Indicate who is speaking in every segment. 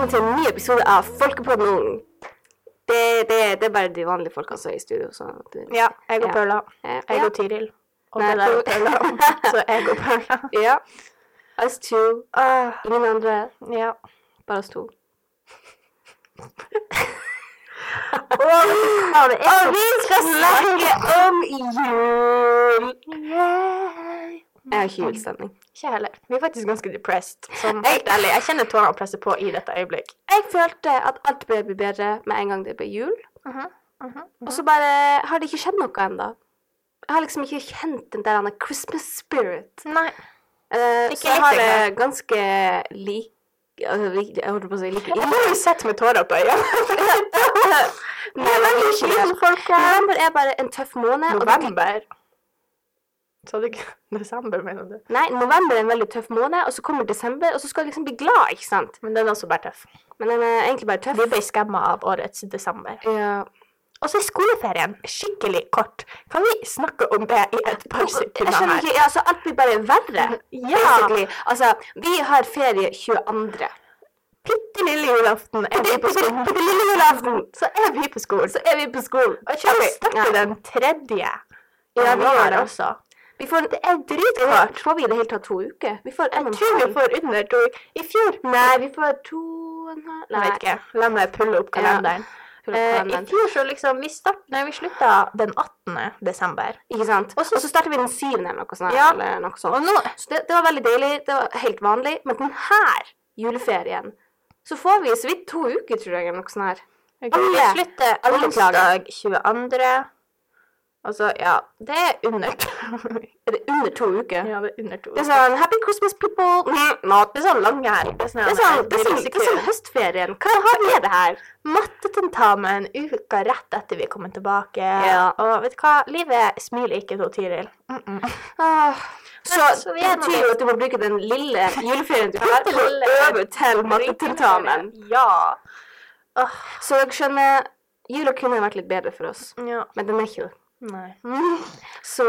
Speaker 1: episode av Folkepodden. Det, det, det er bare de vanlige folka
Speaker 2: altså,
Speaker 1: som er i studio. Så det,
Speaker 2: Ja, jeg og
Speaker 1: Ja.
Speaker 2: Paula.
Speaker 1: Eh,
Speaker 2: Jeg
Speaker 1: ja.
Speaker 2: og Tiril. Og
Speaker 1: Nei,
Speaker 2: det der
Speaker 1: Paula-
Speaker 2: er Paula. Så jeg og Paula.
Speaker 1: Ja. Us two.
Speaker 2: Ah,
Speaker 1: Ingen andre.
Speaker 2: ja.
Speaker 1: Bare oss to.
Speaker 2: Åh, det er
Speaker 1: Og vi skal snakke om jul!
Speaker 2: Nei.
Speaker 1: Jeg har ikke julestemning.
Speaker 2: Ikke heller. Vi er faktisk ganske depressed. Sånn helt ærlig. Jeg kjenner tårene presser på i dette øyeblikk.
Speaker 1: Jeg følte at alt ble bli bedre med en gang det ble jul. Og
Speaker 2: Og så
Speaker 1: så bare har det ikke skjedd noe ennå. Jeg har liksom ikke kjent den der andre Christmas spirit.
Speaker 2: Nei.
Speaker 1: Eh,
Speaker 2: Ikke
Speaker 1: så jeg
Speaker 2: litt
Speaker 1: har
Speaker 2: engang.
Speaker 1: det ganske lik altså, lik- Jeg holdt på å si like
Speaker 2: Jeg blir sett med tårer på øynene.
Speaker 1: Nei, men ikke det.
Speaker 2: folkens.
Speaker 1: November er bare en tøff måned. og det-
Speaker 2: November. Sa du ikke desember, mener du?
Speaker 1: Nei, november er en veldig tøff måned, og så kommer desember, og så skal jeg liksom bli glad, ikke sant?
Speaker 2: Men den er også bare tøff.
Speaker 1: Men den er egentlig bare tøff.
Speaker 2: Vi ble skamma av årets desember.
Speaker 1: Ja.
Speaker 2: Og så er skoleferien skikkelig kort. Kan vi snakke om det i et par
Speaker 1: Jeg
Speaker 2: sekunder
Speaker 1: skjønner
Speaker 2: her?
Speaker 1: ikke, ja, altså alt blir bare verre.
Speaker 2: Ja.
Speaker 1: Basically. Altså, vi har ferie 22.
Speaker 2: Bitte lille julaften er vi på skolen.
Speaker 1: Bitte lille julaften.
Speaker 2: Så er vi på skolen.
Speaker 1: Så er vi på skolen.
Speaker 2: Og ikke
Speaker 1: Ok,
Speaker 2: okay. snakke
Speaker 1: ja.
Speaker 2: den tredje.
Speaker 1: Ja, vi gjør det.
Speaker 2: også.
Speaker 1: Vi får, det er dritkort. Får vi i det hele tatt to uker? Vi får en og en
Speaker 2: Tror vi
Speaker 1: halv.
Speaker 2: får under to i fjor.
Speaker 1: Nei, vi får to og en halv
Speaker 2: Jeg vet ikke. La meg pulle opp kalenderen.
Speaker 1: Pull
Speaker 2: Eh,
Speaker 1: up
Speaker 2: I
Speaker 1: kalenderen.
Speaker 2: fjor så liksom Vi, start, nei, vi slutta den 18. desember.
Speaker 1: Ikke sant? Og
Speaker 2: Og så-
Speaker 1: så starter vi den syvende eller noe sånt.
Speaker 2: Ja.
Speaker 1: Eller noe
Speaker 2: Og
Speaker 1: sånt.
Speaker 2: nå
Speaker 1: Så det, det var veldig deilig. Det var helt vanlig. Men denne juleferien så får vi så vidt to uker, tror jeg, eller noe sånt her.
Speaker 2: Vi
Speaker 1: Alle-
Speaker 2: slutter
Speaker 1: alle
Speaker 2: onsdag 22. Og så, ja Det er under to.
Speaker 1: Er det under to uker?
Speaker 2: ja, det er under to.
Speaker 1: Det er sånn Happy Christmas, people! Mm, not.
Speaker 2: Det er sånn lang helg. Det er sånn,
Speaker 1: Det er sånn, det er sånn, det er sånn høstferien. Hva har vi med det her?
Speaker 2: mattetentamen uka rett etter vi kommer tilbake.
Speaker 1: Ja.
Speaker 2: Og vet du hva? Livet smiler ikke til Tiril.
Speaker 1: Åh. Så,
Speaker 2: Men så vi
Speaker 1: det
Speaker 2: er nå
Speaker 1: betyr jo at du må bruke den lille juleferien du har, til å
Speaker 2: Lille
Speaker 1: øve til mattetentamen.
Speaker 2: Ja. Åh,
Speaker 1: Så dere skjønner, jula kunne vært litt bedre for oss.
Speaker 2: ja.
Speaker 1: Men den er ikke det.
Speaker 2: Nei. Mm.
Speaker 1: Så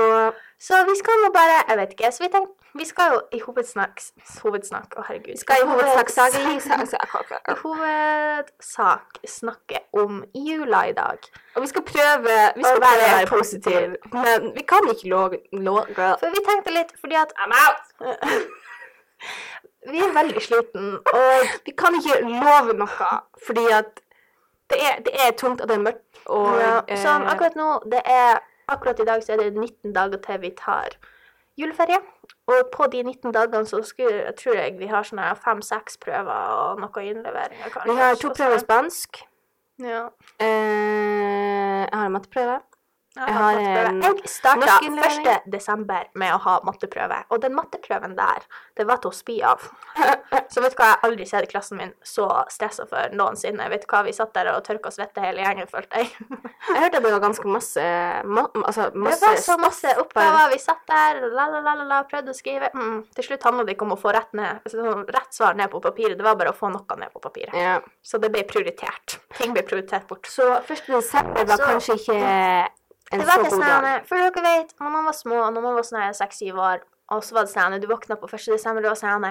Speaker 2: Så vi skal nå bare Jeg vet ikke. Så vi tenkte Vi skal jo i hovedsnakk Hovedsnakk, å herregud.
Speaker 1: vi skal i hovedsak sage
Speaker 2: I hovedsak snakke om jula i dag.
Speaker 1: Og vi skal prøve vi skal
Speaker 2: Å
Speaker 1: prøve å
Speaker 2: være
Speaker 1: være positive. Men vi kan ikke låge
Speaker 2: For vi tenkte litt fordi at Vi er veldig sliten, og
Speaker 1: Vi kan ikke love noe, fordi at det er, det er tungt, og det er mørkt, og
Speaker 2: ja,
Speaker 1: eh,
Speaker 2: sånn akkurat nå det er, Akkurat i dag så er det 19 dager til vi tar juleferie. Og på de 19 dagene så skulle, jeg tror jeg vi har sånne fem-seks prøver og noe innleveringer, kanskje.
Speaker 1: Vi har to
Speaker 2: Og så-
Speaker 1: prøver i spansk.
Speaker 2: Ja.
Speaker 1: Eh, jeg har en matteprøve.
Speaker 2: Jeg,
Speaker 1: Jeg
Speaker 2: har
Speaker 1: har
Speaker 2: matteprøve.
Speaker 1: en
Speaker 2: jeg starta
Speaker 1: norsk innlevering.
Speaker 2: 1. desember med å ha matteprøve, og den matteprøven der, det var til å spy av. Så vet du hva, jeg har aldri sett klassen min så stressa for noensinne. Vet du hva, vi satt der og tørka svette hele gjengen, følte jeg.
Speaker 1: Jeg hørte at det var ganske masse ma altså, masse
Speaker 2: det var så masse
Speaker 1: stoff
Speaker 2: oppgaver. Vi satt der, la, la, la, la, la prøvde å skrive. Mm. Til slutt handla det ikke om å få rett, ned, sånn rett svar ned på papiret, det var bare å få noe ned på papiret.
Speaker 1: der. Ja.
Speaker 2: Så det ble prioritert. Ting ble prioritert bort.
Speaker 1: Så 1. desember var
Speaker 2: Så-
Speaker 1: kanskje ikke en
Speaker 2: Det
Speaker 1: så
Speaker 2: var det
Speaker 1: god dag.
Speaker 2: sånn, for dere vet, når man var små, når man var sånn seks-syv år, og så var det sånn, du våkna på 1. desember, det var sånn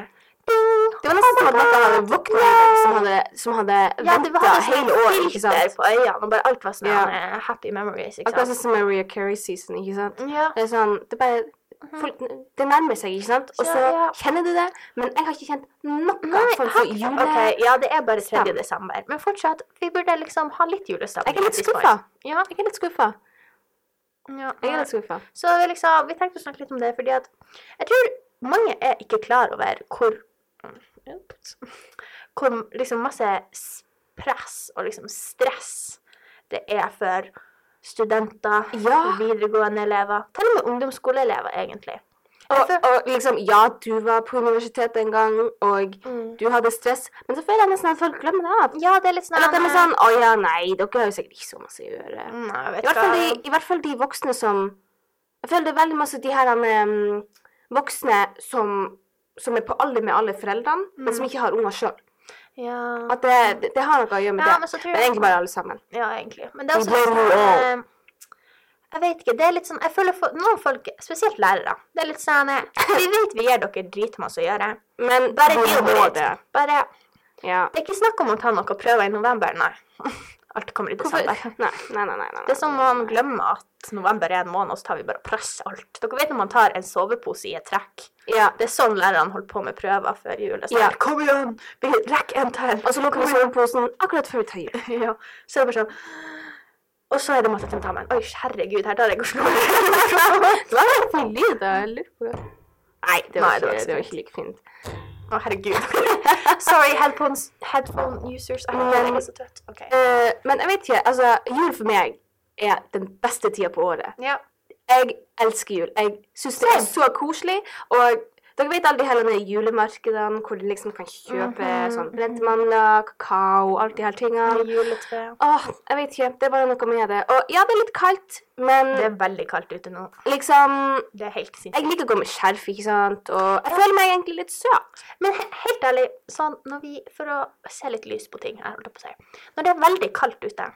Speaker 2: Ding!
Speaker 1: Det var nesten som at noen hadde våkna i dag, som hadde, som hadde
Speaker 2: Ja, det
Speaker 1: ventet
Speaker 2: var sånn
Speaker 1: hele året, ikke
Speaker 2: filter
Speaker 1: sant?
Speaker 2: på øynene, og bare alt var sånn
Speaker 1: Ja.
Speaker 2: eh, happy memories, ikke
Speaker 1: Akkurat
Speaker 2: sant?
Speaker 1: sånn som Maria Carey-season, ikke sant?
Speaker 2: Ja.
Speaker 1: Det er sånn, det bare folk, Det nærmer seg, ikke sant? Og så
Speaker 2: Ja, ja.
Speaker 1: kjenner du det, men jeg har ikke kjent noe
Speaker 2: Nei,
Speaker 1: form
Speaker 2: har-
Speaker 1: for jule...
Speaker 2: ok, ja, det er bare 3.
Speaker 1: Stem.
Speaker 2: desember. Men fortsatt, vi burde liksom ha litt julestemning.
Speaker 1: Jeg er litt
Speaker 2: at vi sparer.
Speaker 1: skuffa.
Speaker 2: Ja,
Speaker 1: Jeg er litt
Speaker 2: ja.
Speaker 1: skuffa.
Speaker 2: eh,
Speaker 1: Jeg er litt skuffa.
Speaker 2: Så vi, liksom, vi tenkte å snakke litt om det, fordi at jeg tror mange er ikke klar over hvor mm, Ups. Hvor liksom masse s- press og liksom stress det er for studenter,
Speaker 1: Ja.
Speaker 2: videregående elever, til og med ungdomsskoleelever, egentlig.
Speaker 1: Og, og liksom, ja, du var på universitetet en gang, og du hadde stress, men så føler jeg nesten at folk glemmer det av.
Speaker 2: Ja, det er litt sånn
Speaker 1: Eller at de er sånn Å ja, nei, dere har jo sikkert ikke så masse å gjøre.
Speaker 2: Nei, jeg
Speaker 1: I
Speaker 2: vet
Speaker 1: hvert fall de,
Speaker 2: ikke.
Speaker 1: i hvert fall de voksne som Jeg føler det er veldig masse de her um, voksne som, som er på alder med alle foreldrene, men som
Speaker 2: Mm.
Speaker 1: ikke har unger sjøl.
Speaker 2: Ja.
Speaker 1: At det, det, det har noe å gjøre med
Speaker 2: ja,
Speaker 1: det.
Speaker 2: men så tror
Speaker 1: Det er egentlig bare alle sammen.
Speaker 2: Ja, egentlig. Men det er
Speaker 1: We
Speaker 2: også litt
Speaker 1: blame you
Speaker 2: sånn eh, Jeg vet ikke. Det er litt sånn Jeg føler for noen folk, spesielt lærere, det er litt sånn eh, Vi vet vi gir dere dritmasse å gjøre.
Speaker 1: Men
Speaker 2: Bare
Speaker 1: du
Speaker 2: deal
Speaker 1: må
Speaker 2: with it.
Speaker 1: det.
Speaker 2: Bare
Speaker 1: Ja.
Speaker 2: Det er ikke snakk om å ta noen prøver i november, nei. Alt kommer i
Speaker 1: Hvorfor?
Speaker 2: desember.
Speaker 1: Nei, nei, nei. nei, nei.
Speaker 2: Det er som om man glemmer at november er en måned, og så tar vi bare og presser alt. Dere vet når man tar en sovepose i et trekk.
Speaker 1: Ja.
Speaker 2: Det er sånn lærerne holdt på med prøver før jul. Det er sånn,
Speaker 1: Ja.
Speaker 2: Kom igjen! Vi rekker en til!
Speaker 1: Og så lukker vi soveposen sånn akkurat før vi tar jul.
Speaker 2: Ja, så er det bare sånn Og så er det mattetentamen. Oi, herregud, her tar jeg og slår.
Speaker 1: Hva lyd jeg lurer på? Nei, det var,
Speaker 2: Nei, det var
Speaker 1: ikke,
Speaker 2: ikke
Speaker 1: det var ikke like fint.
Speaker 2: Å, herregud. Sorry, headphones, headphone users. Jeg
Speaker 1: Men-
Speaker 2: er så trøtt. OK.
Speaker 1: Eh, men jeg vet ikke, altså, jul for meg er den beste tida på året.
Speaker 2: Ja.
Speaker 1: Jeg elsker jul. Jeg syns det er
Speaker 2: Same.
Speaker 1: så koselig. Og dere vet alle de her denne julemarkedene hvor du liksom kan kjøpe
Speaker 2: Mhm,
Speaker 1: sånn brentmandler, kakao, alt de her tingene.
Speaker 2: med Juletre.
Speaker 1: Åh, jeg vet ikke. Det er bare noe med det. Og ja, det er litt kaldt, men
Speaker 2: Det er veldig kaldt ute nå.
Speaker 1: liksom
Speaker 2: Det er helt sinnssykt.
Speaker 1: Jeg liker å gå med skjerf, ikke sant, og jeg føler meg egentlig litt søt.
Speaker 2: Men he helt ærlig, sånn når vi, for å se litt lys på ting her, holdt jeg på å si Når det er veldig kaldt ute,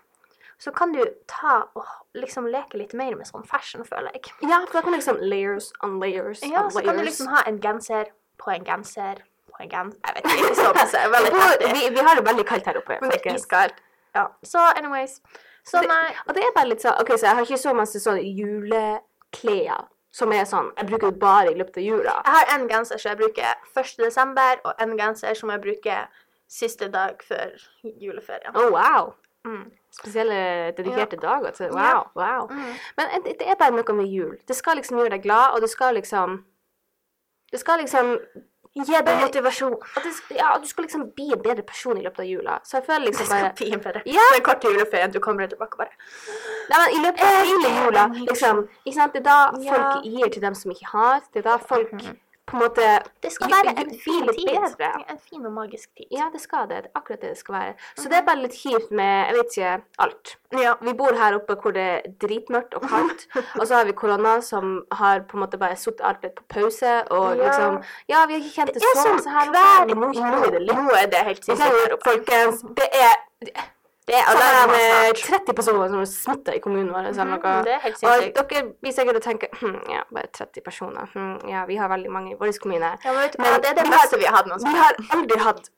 Speaker 2: så kan du ta og liksom leke litt mer med sånn fashion, føler jeg.
Speaker 1: Ja, for da kan du liksom layers on layers
Speaker 2: Ja,
Speaker 1: on
Speaker 2: så kan du
Speaker 1: layers.
Speaker 2: liksom ha en genser på en genser på en genser Jeg vet ikke, det er sånn, så er veldig
Speaker 1: På-
Speaker 2: heftig.
Speaker 1: vi, vi har det veldig kaldt her oppe.
Speaker 2: Men det er
Speaker 1: folkens.
Speaker 2: iskaldt. Ja. Så anyways. Så
Speaker 1: Det-
Speaker 2: nei
Speaker 1: Og det er bare litt sånn OK, så jeg har ikke så masse sånn juleklær som er sånn Jeg bruker det bare i løpet av jula.
Speaker 2: Jeg har en genser som jeg bruker 1. desember, og en genser som jeg bruker siste dag før juleferien.
Speaker 1: Oh, wow.
Speaker 2: Mm.
Speaker 1: Spesielle dedikerte dager til Wow.
Speaker 2: Ja.
Speaker 1: wow.
Speaker 2: Mm.
Speaker 1: Men det, det er bare noe med jul. Det skal liksom gjøre deg glad, og det skal liksom Det skal liksom gi deg
Speaker 2: Motivasjon.
Speaker 1: at det, Ja, du skal liksom bli en bedre person i løpet av jula. Så jeg føler
Speaker 2: Det
Speaker 1: liksom
Speaker 2: skal
Speaker 1: bare
Speaker 2: bli en bedre
Speaker 1: Ja.
Speaker 2: Det er en kort juleferie, du kommer tilbake og bare
Speaker 1: Nei, men i løpet av hele jula, liksom. Ikke sant? Det er da
Speaker 2: Ja. Mhm.
Speaker 1: folk gir til dem som ikke har. Det er da folk på en måte
Speaker 2: Det skal
Speaker 1: Ju-
Speaker 2: være
Speaker 1: Mm. ju-
Speaker 2: en
Speaker 1: bli
Speaker 2: fin
Speaker 1: litt
Speaker 2: tid.
Speaker 1: bedre.
Speaker 2: En fin og magisk tid.
Speaker 1: Ja, det skal det. Det er akkurat det det skal være. Så
Speaker 2: Mhm.
Speaker 1: det er bare litt kjipt med Jeg vet ikke alt.
Speaker 2: Ja.
Speaker 1: Vi bor her oppe hvor det er dritmørkt og kaldt, og så har vi korona som har på en måte bare satt alt litt på pause, og
Speaker 2: Ja.
Speaker 1: liksom Ja, vi har ikke kjent
Speaker 2: Det
Speaker 1: det,
Speaker 2: er
Speaker 1: så
Speaker 2: sånn
Speaker 1: masse her.
Speaker 2: hver
Speaker 1: Nå er det litt
Speaker 2: Nå er det helt
Speaker 1: Ok, Folkens, det er
Speaker 2: Det er
Speaker 1: alle
Speaker 2: alarm
Speaker 1: de
Speaker 2: snart.
Speaker 1: 30 personer som er smitta i kommunen vår. eller
Speaker 2: Mhm,
Speaker 1: noe.
Speaker 2: Det er helt
Speaker 1: Og
Speaker 2: sinnssykt.
Speaker 1: dere blir sikkert å tenke hm, ja, bare 30 personer. Hm, ja, vi har veldig mange i vår kommune.
Speaker 2: Ja, men vet du
Speaker 1: Men
Speaker 2: hva, det er det
Speaker 1: vi har-
Speaker 2: beste vi har hatt noen
Speaker 1: Altså, Vi har aldri hatt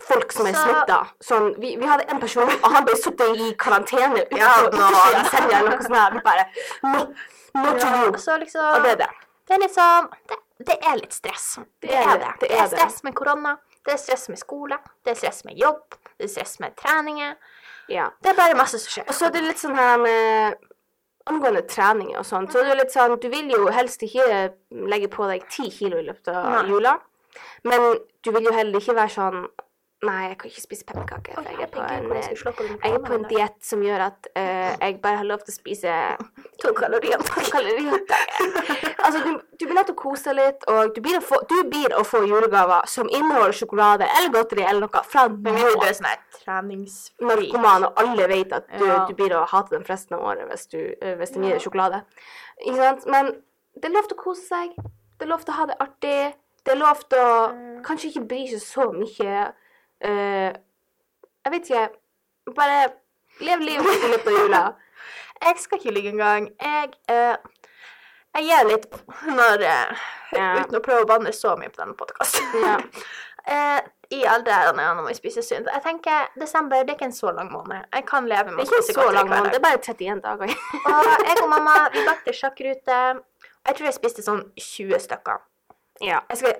Speaker 1: folk som er
Speaker 2: Så-
Speaker 1: smitta. Sånn, vi, vi hadde en person, og han ble sittet i karantene ute
Speaker 2: Ja,
Speaker 1: på
Speaker 2: nå.
Speaker 1: utsida av senga eller noe sånt. her. Vi bare no, no to you.
Speaker 2: Så liksom
Speaker 1: Og det er det.
Speaker 2: Det er litt sånn Det, det er litt stress. Det er det. Det er
Speaker 1: det.
Speaker 2: stress med korona. Det er stress med skole. Det er stress med jobb. Det er stress med treninger.
Speaker 1: Ja.
Speaker 2: Det er bare masse som skjer.
Speaker 1: Og så er det litt sånn her med Angående trening og sånn, så er det jo litt sånn Du vil jo helst ikke legge på deg ti kilo i løpet av
Speaker 2: Nei.
Speaker 1: jula, men du vil jo heller ikke være sånn Nei, jeg kan ikke spise pepperkaker. for jeg er på en, eh, jeg er på en diett som gjør at eh, jeg bare har lov til å spise
Speaker 2: To kalorier.
Speaker 1: to kalorier om dagen. Altså, du, du blir nødt til å kose deg litt, og du blir å få, du blir å få julegaver som inneholder sjokolade eller godteri eller noe fra
Speaker 2: Men vi er jo
Speaker 1: noen
Speaker 2: sånn her treningsfri.
Speaker 1: narkoman, og alle vet at du,
Speaker 2: Ja.
Speaker 1: du blir å hate dem for resten av året hvis, du, eh, hvis de gir
Speaker 2: Ja.
Speaker 1: deg sjokolade. Ikke sant? Men det er lov til å kose seg. Det er lov til å ha det artig. Det er lov til å
Speaker 2: Mm.
Speaker 1: kanskje ikke bry seg så mye. eh, jeg vet ikke. Bare lev livet i løpet av jula.
Speaker 2: Jeg skal ikke ligge engang. Jeg eh, Jeg gir litt på når eh,
Speaker 1: Ja.
Speaker 2: Uten å prøve å banne så mye på denne podkasten.
Speaker 1: Ja.
Speaker 2: I alle det her når man spiser sunt. Jeg tenker desember det er ikke en så lang måned. Jeg kan leve
Speaker 1: Det
Speaker 2: med
Speaker 1: er ikke så
Speaker 2: godteri
Speaker 1: lang
Speaker 2: hver dag.
Speaker 1: måned. Det er bare 31 dager.
Speaker 2: Og jeg og mamma vi bakte sjakkrute. Jeg tror jeg spiste sånn 20 stykker.
Speaker 1: ja.
Speaker 2: Jeg skal,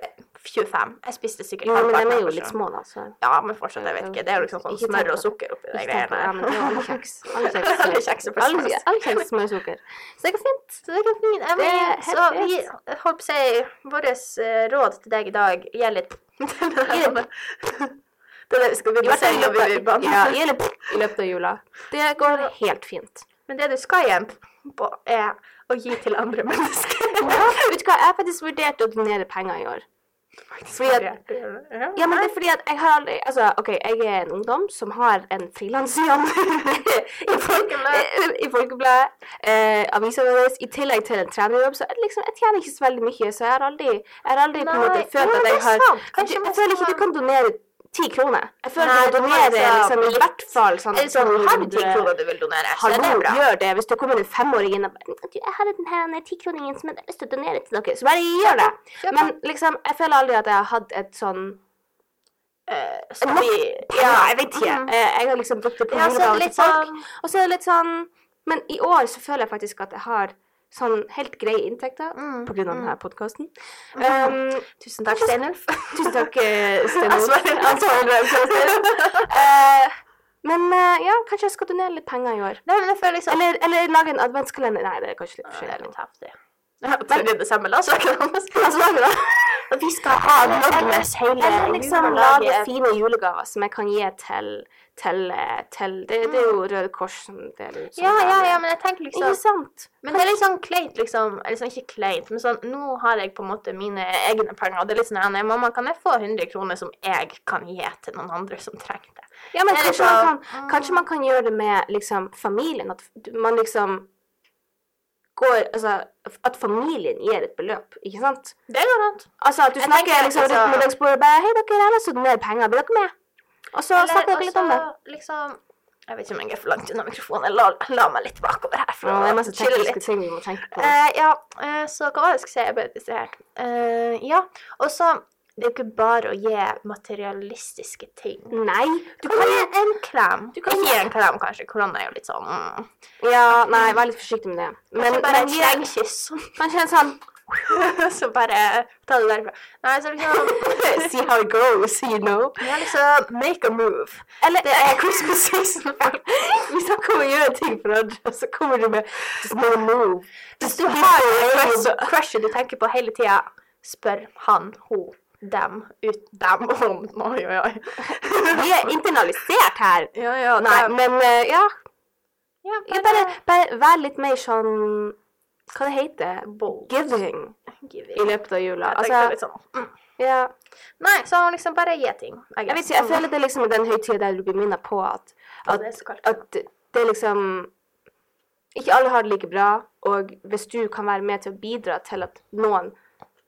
Speaker 2: 25. Jeg spiste sikkert
Speaker 1: Jo, men
Speaker 2: halvparten
Speaker 1: de er
Speaker 2: av
Speaker 1: jo litt
Speaker 2: personen.
Speaker 1: små, da, så
Speaker 2: Ja, men fortsatt, jeg vet ikke. Det er jo liksom sånn
Speaker 1: Ikke tenk
Speaker 2: smør og
Speaker 1: på-
Speaker 2: sukker oppi de
Speaker 1: Ikke tenk på det, ja, men det liksom- er jo alle
Speaker 2: greiene.
Speaker 1: kjeks. Alle kjeks,
Speaker 2: Alle kjeks er
Speaker 1: alle,
Speaker 2: personlig.
Speaker 1: alle kjeks smør og sukker. Så det går fint.
Speaker 2: Så det går fint. Jeg
Speaker 1: Det er
Speaker 2: mener,
Speaker 1: helt
Speaker 2: så vi jeg holdt på å si Vårt eh, råd til deg i dag gjelder litt
Speaker 1: Gi det-
Speaker 2: Det er det vi skal begynne å si når vi blir banna.
Speaker 1: Ja, i løpet- i løpet av jula. Det går helt fint.
Speaker 2: Men det du skal igjen på, er å gi til andre mennesker.
Speaker 1: Ja, vet du hva, jeg har faktisk vurdert å donere penger i år. Fordi at, ja, men det er fordi at jeg har aldri Altså, OK, jeg er en ungdom som har en frilansjobb i Folkebladet, i folkebladet eh, avisa vår, i tillegg til en trenerjobb, så jeg, liksom, jeg tjener ikke så veldig mye, så jeg har aldri, jeg har aldri på en måte
Speaker 2: Nei,
Speaker 1: følt
Speaker 2: jo,
Speaker 1: at
Speaker 2: det
Speaker 1: jeg
Speaker 2: er
Speaker 1: har
Speaker 2: sant.
Speaker 1: Jeg,
Speaker 2: Kanskje man
Speaker 1: føler
Speaker 2: skal
Speaker 1: ikke du
Speaker 2: ha-
Speaker 1: kan donere ti kroner. Jeg føler
Speaker 2: Nei,
Speaker 1: du
Speaker 2: det må
Speaker 1: donerer
Speaker 2: være
Speaker 1: liksom, i
Speaker 2: litt-
Speaker 1: hvert fall sånn
Speaker 2: Eller sånn, har du
Speaker 1: 200
Speaker 2: 10 kroner du vil donere, så er det
Speaker 1: Hallo,
Speaker 2: bra.
Speaker 1: gjør det. Hvis det kommer en femåring inn og bare «Du, 'Jeg har den her den tikroningen som jeg har lyst til å donere til dere', så bare gjør det.
Speaker 2: Kjøp
Speaker 1: Men liksom, jeg føler aldri at jeg har hatt et sånn
Speaker 2: eh, skal vi
Speaker 1: Ja, jeg vet ikke.
Speaker 2: Mhm.
Speaker 1: Eh, Jeg har liksom brukt det på
Speaker 2: Ja, så er det
Speaker 1: hundregaver til
Speaker 2: litt
Speaker 1: folk.
Speaker 2: sånn
Speaker 1: Og så er det litt sånn Men i år så føler jeg faktisk at jeg har sånn helt greie inntekter
Speaker 2: Mm,
Speaker 1: på grunn av
Speaker 2: mm.
Speaker 1: denne podkasten.
Speaker 2: Mhm.
Speaker 1: Um,
Speaker 2: Tusen takk, Steinulf.
Speaker 1: tusen takk, eh,
Speaker 2: Jeg
Speaker 1: Sten Olav.
Speaker 2: svarer.
Speaker 1: Antoine Olav Sørensen. altså, Eh, Men eh, ja, kanskje jeg skal donere litt penger i år.
Speaker 2: Nei, men jeg føler liksom
Speaker 1: Eller, eller lage en adventskalender. Nei, det er kanskje litt for
Speaker 2: Det er
Speaker 1: sent.
Speaker 2: litt heftig. Tredje desember, la oss snakke om det. Og Vi skal ha
Speaker 1: Eller-
Speaker 2: Nogmes hele
Speaker 1: Eller liksom
Speaker 2: julelaget.
Speaker 1: lage fine julegaver som jeg kan gi til, til, eh, til det, det er jo Røde Kors som deler ut. sånne
Speaker 2: Ja, ja,
Speaker 1: gaver.
Speaker 2: ja, men jeg tenker liksom
Speaker 1: Ikke sant?
Speaker 2: Men det er litt sånn kleint, liksom. Eller sånn, ikke kleint, men sånn Nå har jeg på en måte mine egne penger. og Det er litt sånn Nei, mamma, kan jeg få 100 kroner som jeg kan gi til noen andre som trenger det? sånn,
Speaker 1: Ja, men
Speaker 2: Eller
Speaker 1: kanskje man,
Speaker 2: Eh, så-
Speaker 1: kan, kanskje man kan gjøre det med liksom, familien. At du- man liksom går Altså at familien gir et beløp, ikke sant?
Speaker 2: Det går an.
Speaker 1: Altså at du
Speaker 2: Jeg
Speaker 1: snakker
Speaker 2: tenker,
Speaker 1: liksom
Speaker 2: altså-
Speaker 1: rundt middagsbordet og bare Hei, dere, jeg har lyst til å donere penger. Blir dere med? Og så
Speaker 2: Eller
Speaker 1: snakker dere litt om det.
Speaker 2: også, Liksom Jeg vet ikke om jeg er for langt unna mikrofonen. La, la meg litt bakover her for
Speaker 1: Ja, det er
Speaker 2: å
Speaker 1: masse
Speaker 2: chille
Speaker 1: tekniske
Speaker 2: litt.
Speaker 1: ting vi må tenke på.
Speaker 2: Eh, ja, eh, så hva var det jeg skulle si? Jeg ble distrahert. Eh, ja, og så Det er jo ikke bare å gi materialistiske ting.
Speaker 1: Nei.
Speaker 2: Du kan gi en klem.
Speaker 1: Du kan
Speaker 2: ikke
Speaker 1: gi-
Speaker 2: gi en klem, kanskje. Korona er jo litt sånn mm.
Speaker 1: Ja, nei, vær litt forsiktig med det. Men,
Speaker 2: Kanskje bare
Speaker 1: men
Speaker 2: et
Speaker 1: gi-
Speaker 2: slengkyss.
Speaker 1: kanskje en sånn
Speaker 2: så bare ta det derfra. Nei, så liksom
Speaker 1: See how it goes, you know.
Speaker 2: Ja, liksom make a move.
Speaker 1: Eller eh,
Speaker 2: Det er Christmas season.
Speaker 1: Vi snakker om å gjøre ting for andre, og så kommer du med Just no move.
Speaker 2: Hvis du har en crushet du tenker på hele tida, spør han, hun, dem, ut dem om Oi, oi, oi.
Speaker 1: Vi er internalisert her.
Speaker 2: Ja, ja,
Speaker 1: Nei, men eh, ja.
Speaker 2: ja,
Speaker 1: ja bare, bare vær litt mer sånn Hva det heter
Speaker 2: bold.
Speaker 1: Giving i løpet av jula.
Speaker 2: Jeg tenkte litt
Speaker 1: Altså,
Speaker 2: sånn. mm.
Speaker 1: ja.
Speaker 2: Nei, så liksom bare gi ting.
Speaker 1: Jeg vet ikke, jeg føler det er liksom den høytida der du blir minnet på at, at,
Speaker 2: Sånn det er så kaldt.
Speaker 1: at det er liksom Ikke alle har det like bra, og hvis du kan være med til å bidra til at noen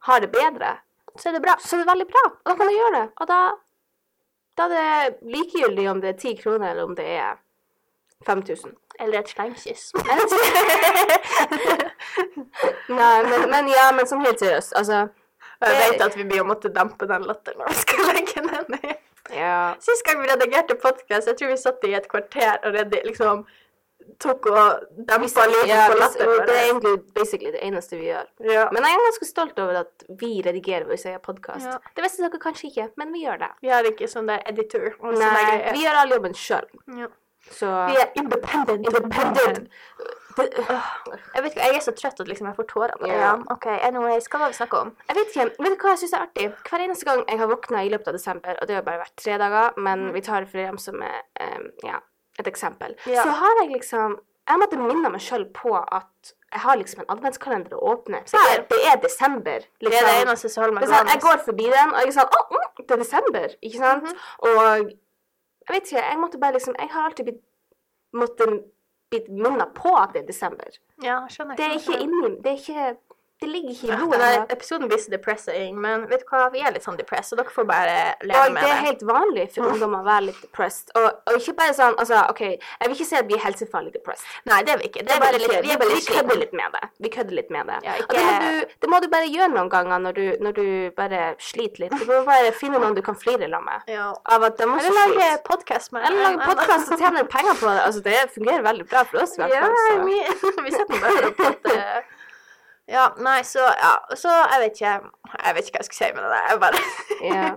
Speaker 1: har det bedre, så er det bra. Så er det veldig bra, og da kan du gjøre det. Og da, da er det likegyldig om det er ti kroner, eller om det er 5000.
Speaker 2: Eller et slengkyss.
Speaker 1: Jeg vet Nei, men, men ja, men sånn helt seriøst, altså
Speaker 2: Jeg vet at vi blir å måtte dempe den latteren når vi skal legge den ned.
Speaker 1: Ja.
Speaker 2: Sist gang vi redigerte podkast, jeg tror vi satt i et kvarter og redi- liksom tok og dempa lyden
Speaker 1: ja
Speaker 2: på
Speaker 1: det,
Speaker 2: latteren.
Speaker 1: det er egentlig basically det eneste vi gjør.
Speaker 2: Ja.
Speaker 1: Men jeg er ganske stolt over at vi redigerer vår egen podkast.
Speaker 2: Ja.
Speaker 1: Det visste dere kanskje ikke, men vi gjør det.
Speaker 2: Vi har ikke sånn der editor. og sånn
Speaker 1: Nei,
Speaker 2: der
Speaker 1: vi
Speaker 2: greier.
Speaker 1: gjør all jobben sjøl,
Speaker 2: ja.
Speaker 1: så
Speaker 2: vi er independent.
Speaker 1: Independent. Det- øh,
Speaker 2: Jeg vet ikke, jeg er så trøtt at liksom jeg får tårer.
Speaker 1: Ja.
Speaker 2: Ja. OK, anyways, hva var det vi snakket om?
Speaker 1: Jeg vet ikke, vet du hva jeg syns er artig? Hver eneste gang jeg har våkna i løpet av desember, og det har bare vært tre dager, men
Speaker 2: Mm.
Speaker 1: vi tar det for dem som er, em, ja, et eksempel,
Speaker 2: Ja.
Speaker 1: så har jeg liksom Jeg måtte minne meg sjøl på at jeg har liksom en adventskalender å åpne. Det er, det er desember. Liksom.
Speaker 2: Det er det eneste som holder meg
Speaker 1: Det er sånn, jeg
Speaker 2: gående. Mhm.
Speaker 1: går forbi den, og jeg er sånn Å, mm, det er desember, ikke sant? Og jeg vet ikke, jeg måtte bare liksom Jeg har alltid blitt måttet blitt minnet på at det er desember.
Speaker 2: Ja, skjønner.
Speaker 1: Det er ikke
Speaker 2: skjønner.
Speaker 1: inni Det er ikke Det ligger ikke i
Speaker 2: Ja,
Speaker 1: blodet.
Speaker 2: denne
Speaker 1: ennå.
Speaker 2: episoden blir så depressing, men vet du hva, vi er litt sånn depressed, så dere får bare leve
Speaker 1: Og
Speaker 2: med
Speaker 1: det er
Speaker 2: det.
Speaker 1: helt vanlig for ungdom å være litt depressed. Og, og ikke bare sånn Altså, OK, jeg vil ikke si at vi er helsefarlig depressed.
Speaker 2: Nei, det er vi ikke. Det
Speaker 1: Det
Speaker 2: er bare litt,
Speaker 1: vi,
Speaker 2: vi er bare litt
Speaker 1: vi kødder
Speaker 2: slitne.
Speaker 1: litt med det. Vi kødder litt med det.
Speaker 2: Ja,
Speaker 1: Og det må,
Speaker 2: ikke-
Speaker 1: du, det må du bare gjøre noen ganger når du, når du bare sliter litt. Du må bare finne noen du kan flire sammen med.
Speaker 2: Ja.
Speaker 1: Av at de også
Speaker 2: Eller lage
Speaker 1: sliter.
Speaker 2: podkast med
Speaker 1: Eller lage
Speaker 2: Nei, nei, nei.
Speaker 1: podkast og tjene penger på det. Altså, det fungerer veldig bra for oss, i hvert
Speaker 2: Ja,
Speaker 1: fall. så.
Speaker 2: vi, vi setter bare opp at eh, Ja, nei, så ja. og Så jeg vet ikke Jeg vet ikke hva jeg skulle si med det der. Jeg bare
Speaker 1: Ja.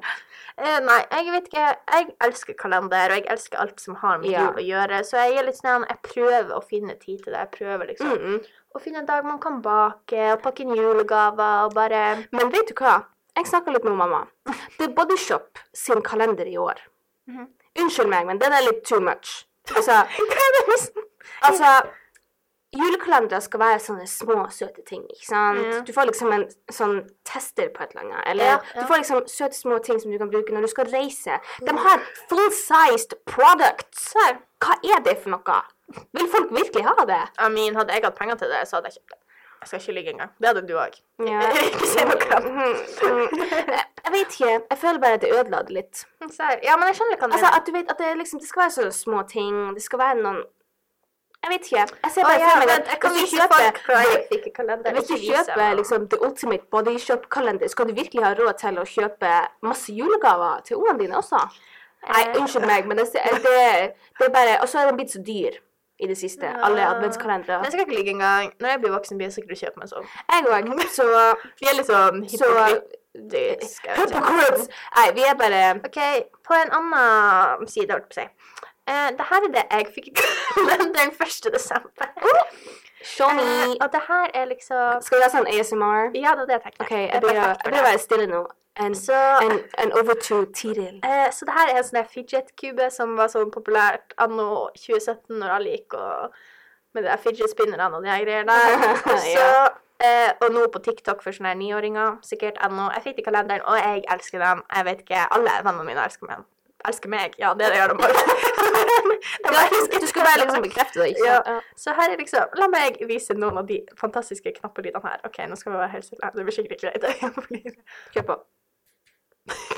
Speaker 2: Eh, Nei, jeg vet ikke. Jeg elsker kalender, og jeg elsker alt som har med
Speaker 1: Ja.
Speaker 2: jul å gjøre. Så jeg er litt sånn Jeg prøver å finne tid til det. Jeg prøver liksom
Speaker 1: Mm -mm.
Speaker 2: å finne en dag man kan bake, og pakke inn julegaver, og bare
Speaker 1: Men vet du hva? Jeg snakka litt med mamma. Det er Bodyshop sin kalender i år.
Speaker 2: Mhm.
Speaker 1: Unnskyld meg, men den er litt too much. Altså, altså Julekalendere skal være sånne små, søte ting, ikke sant?
Speaker 2: Ja.
Speaker 1: Du får liksom en sånn tester på et eller annet, eller
Speaker 2: Ja, ja. Mm.
Speaker 1: du får liksom søte, små ting som du kan bruke når du skal reise. De har full-sized products! Hva er det for noe? Vil folk virkelig ha det?
Speaker 2: I mean, hadde jeg hatt penger til det, så hadde jeg kjøpt det. Jeg skal ikke lyve engang. Det hadde du òg.
Speaker 1: Ja. Mm,
Speaker 2: Ikke si noe annet.
Speaker 1: Jeg- Jeg vet ikke. Jeg føler bare at det ødela det litt.
Speaker 2: Så, Ja, men jeg skjønner hva du
Speaker 1: Altså,
Speaker 2: mener.
Speaker 1: at du vet at det, er liksom, det skal være sånne små ting. Det skal være noen Jeg vet ikke. Jeg ser
Speaker 2: Å
Speaker 1: bare
Speaker 2: ja,
Speaker 1: for meg
Speaker 2: vent,
Speaker 1: at
Speaker 2: jeg kan
Speaker 1: hvis du
Speaker 2: vise folk hva jeg
Speaker 1: kjøper-
Speaker 2: fikk i kalenderen.
Speaker 1: Hvis du
Speaker 2: Ikke vise
Speaker 1: kjøper
Speaker 2: meg.
Speaker 1: liksom, The Ultimate Body Shop-kalender, skal du virkelig ha råd til å kjøpe masse julegaver til ungene dine også? Nei,
Speaker 2: Eh,
Speaker 1: unnskyld meg, men det, det, det er bare Og så er den blitt så dyr i det siste. Alle
Speaker 2: Ja. Den
Speaker 1: adventskalendere.
Speaker 2: skal ikke ligge engang. Når jeg blir voksen, blir jeg sikkert å kjøpe meg sånn.
Speaker 1: Jeg òg. Så,
Speaker 2: Vi er litt sånn
Speaker 1: så Hypocrites! Nei, vi er bare
Speaker 2: OK, på en annen side, holdt på å si. Eh, det her er det jeg fikk i kalenderen 1. desember.
Speaker 1: Show
Speaker 2: Eh,
Speaker 1: me.
Speaker 2: og det her er liksom
Speaker 1: Skal vi ha sånn ASMR?
Speaker 2: Ja, det er det jeg tenkte.
Speaker 1: OK,
Speaker 2: Det
Speaker 1: jeg
Speaker 2: er
Speaker 1: bør
Speaker 2: perfekt for
Speaker 1: jeg bør
Speaker 2: deg.
Speaker 1: være stille nå. And,
Speaker 2: Så,
Speaker 1: and, and over to Tiril.
Speaker 2: eh, så det her er en sånn der fidget-kube som var sånn populært anno 2017, når alle gikk og med de der fidget-spinnerne og de her greiene der. Og Så,
Speaker 1: Ja.
Speaker 2: eh, og nå på TikTok for sånne her niåringer, sikkert ennå. Jeg fikk det i kalenderen, og jeg elsker dem. Jeg vet ikke, alle vennene mine elsker meg. Elsker meg, ja, det gjør de bare.
Speaker 1: Du skal bare liksom bekrefte det, ikke sant?
Speaker 2: Ja. Så her er liksom La meg vise noen av de fantastiske knappelydene her. OK, nå skal vi være helt stille. Det blir sikkert ikke greit.
Speaker 1: Kjør på.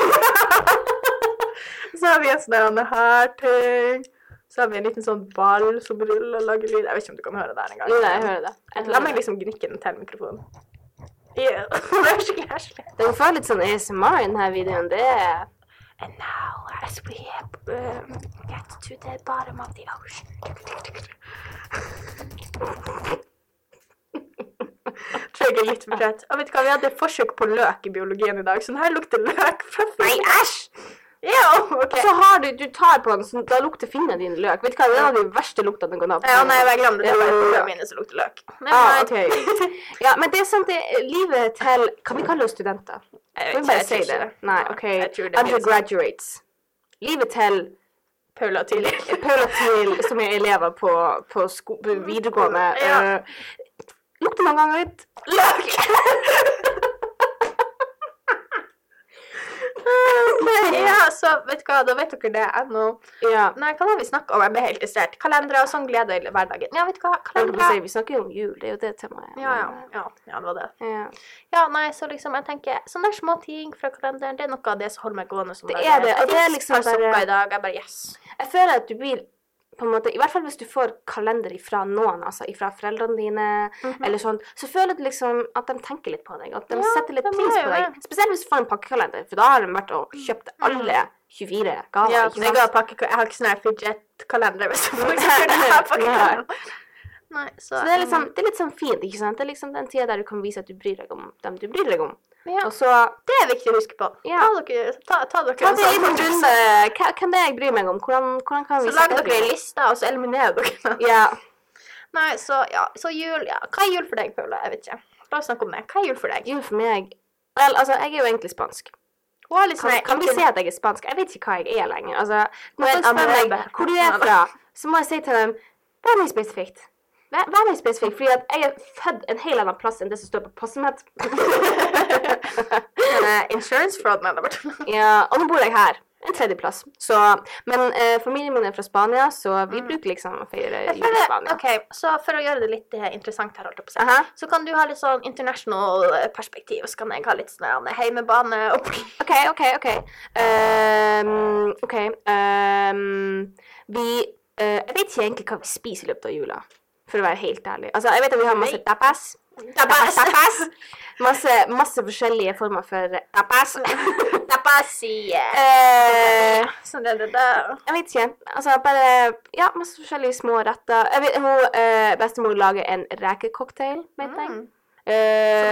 Speaker 2: så har vi en sånn der her ting. Så har vi en liten sånn ball som ruller og lager lyd. Jeg vet ikke om du kan høre det her engang.
Speaker 1: Nei, jeg hører det. Jeg
Speaker 2: La
Speaker 1: hører
Speaker 2: meg
Speaker 1: det.
Speaker 2: liksom gnikke den til mikrofonen. Ew, det er skikkelig heslig.
Speaker 1: Den får litt sånn ASMR i denne videoen. Det er
Speaker 2: And now, as we um, get to the bottom of the ocean. Tror jeg er litt for tett. Og vet du hva, vi hadde et forsøk på løk i biologien i dag, så den her lukter løk fra før.
Speaker 1: Nei, æsj!
Speaker 2: Jo, ok.
Speaker 1: Og så har du, du tar på den, sånn, da lukter fingeren din løk. Vet du hva, det er en av de verste luktene du kan ha på
Speaker 2: Ja,
Speaker 1: fingeren.
Speaker 2: nei, jeg glemte det. Det var
Speaker 1: Ja.
Speaker 2: ørene mine som lukter løk. Men,
Speaker 1: Ah,
Speaker 2: nei.
Speaker 1: ok. Ja, men det er sant, det er livet til Kan vi kalle oss studenter?
Speaker 2: Jeg
Speaker 1: Kan
Speaker 2: vet ikke,
Speaker 1: vi bare
Speaker 2: jeg
Speaker 1: si
Speaker 2: tror ikke
Speaker 1: det?
Speaker 2: det.
Speaker 1: Nei, OK.
Speaker 2: Jeg tror det blir sånn.
Speaker 1: Undergraduates. Livet til
Speaker 2: Paula tidlig.
Speaker 1: Paula Thiel, som er elever på, på, sko på videregående.
Speaker 2: Ja.
Speaker 1: øh, lukter noen ganger litt
Speaker 2: Løk!
Speaker 1: eh,
Speaker 2: ja, så vet du hva, da vet dere det ennå.
Speaker 1: Ja.
Speaker 2: Nei, hva har vi snakket om? Jeg ble helt distrahert. Kalendere og sånn gleder i hverdagen. Ja, vet du hva,
Speaker 1: Jeg holdt på å si,
Speaker 2: kalendere.
Speaker 1: Vi snakker jo om jul, det er jo det temaet.
Speaker 2: Ja, ja, ja, ja, det var det.
Speaker 1: ja.
Speaker 2: Ja, nei, så liksom, jeg tenker, sånne der små ting fra kalenderen, det er noe av det som holder meg gående. Som
Speaker 1: Det
Speaker 2: bare-
Speaker 1: er det, og
Speaker 2: jeg
Speaker 1: det er
Speaker 2: fikk
Speaker 1: liksom
Speaker 2: par sokker i
Speaker 1: bare-
Speaker 2: dag, jeg bare, yes.
Speaker 1: Jeg føler at du blir på en måte, I hvert fall hvis du får kalender ifra noen, altså ifra foreldrene dine, eller sånn, så føler du liksom at de tenker litt på deg, at de
Speaker 2: Ja,
Speaker 1: setter litt
Speaker 2: de
Speaker 1: pris
Speaker 2: gjør
Speaker 1: på
Speaker 2: jo
Speaker 1: deg. Spesielt hvis du får en pakkekalender, for da har de vært og kjøpt alle 24 gaver.
Speaker 2: Ja,
Speaker 1: ikke
Speaker 2: jeg,
Speaker 1: sant?
Speaker 2: har pakke, jeg har ikke sånn her fidget-kalender, hvis jeg får ikke det her pakkekalenderen. Nei, så,
Speaker 1: Så det er, litt sånn, det er litt sånn fint, ikke sant? Det er liksom den tida der du kan vise at du bryr deg om dem du bryr deg om.
Speaker 2: Ja.
Speaker 1: Og så
Speaker 2: um, Det er viktig å huske på.
Speaker 1: Ja.
Speaker 2: Ta dere, ta, ta dere
Speaker 1: Ta
Speaker 2: en
Speaker 1: det
Speaker 2: sånn
Speaker 1: inn i
Speaker 2: runde.
Speaker 1: bundet. Hva hvem det er jeg bryr meg om? Hvordan, hvordan kan vi
Speaker 2: Så lager
Speaker 1: sette
Speaker 2: dere en
Speaker 1: det?
Speaker 2: liste, og så eliminerer dere den.
Speaker 1: Ja.
Speaker 2: Nei, så ja. Så jul, ja. Hva er jul for deg, Paula? Jeg vet ikke. La oss snakke om det. Hva er jul for deg?
Speaker 1: Jul for meg Vel, altså, jeg er jo egentlig spansk.
Speaker 2: Hun er litt
Speaker 1: Kan,
Speaker 2: sånn her-
Speaker 1: kan vi
Speaker 2: ikke-
Speaker 1: si at jeg er spansk? Jeg vet ikke hva jeg er lenger. Altså, når
Speaker 2: Men
Speaker 1: folk spør meg
Speaker 2: amøbe.
Speaker 1: hvor du er fra, så må jeg si til dem Vær meg spesifikt. Vær, vær meg spesifikk, fordi at jeg er født en helt annen plass enn det som står på passet mitt.
Speaker 2: Eh, Insurance fraud, mener jeg bare.
Speaker 1: ja, og nå bor jeg her. En tredjeplass. Så Men eh, familien min er fra Spania, så vi bruker liksom å feire
Speaker 2: Mm. Jeg
Speaker 1: jul i
Speaker 2: føler-
Speaker 1: Spania.
Speaker 2: OK, så for å gjøre det litt eh, interessant her, holdt jeg på å si.
Speaker 1: Aha.
Speaker 2: Så kan du ha litt sånn international eh, perspektiv, og så kan jeg ha litt sånn her, eh, heimebane og
Speaker 1: OK, OK, OK. Ehm, OK. ehm, vi eh, Jeg vet ikke egentlig hva vi spiser i løpet av jula, for å være helt ærlig. Altså, jeg vet at vi har masse
Speaker 2: Nei.
Speaker 1: tapas.
Speaker 2: Tapas.
Speaker 1: tapas. Masse, masse forskjellige former for tapas.
Speaker 2: Tapas i eh,
Speaker 1: Eh,
Speaker 2: Sånn er det der.
Speaker 1: jeg vet ikke. Altså, bare Ja, masse forskjellige små retter. Jeg vet, hun, eh, bestemor lager en rekecocktail, vet jeg.
Speaker 2: Mm.
Speaker 1: Eh,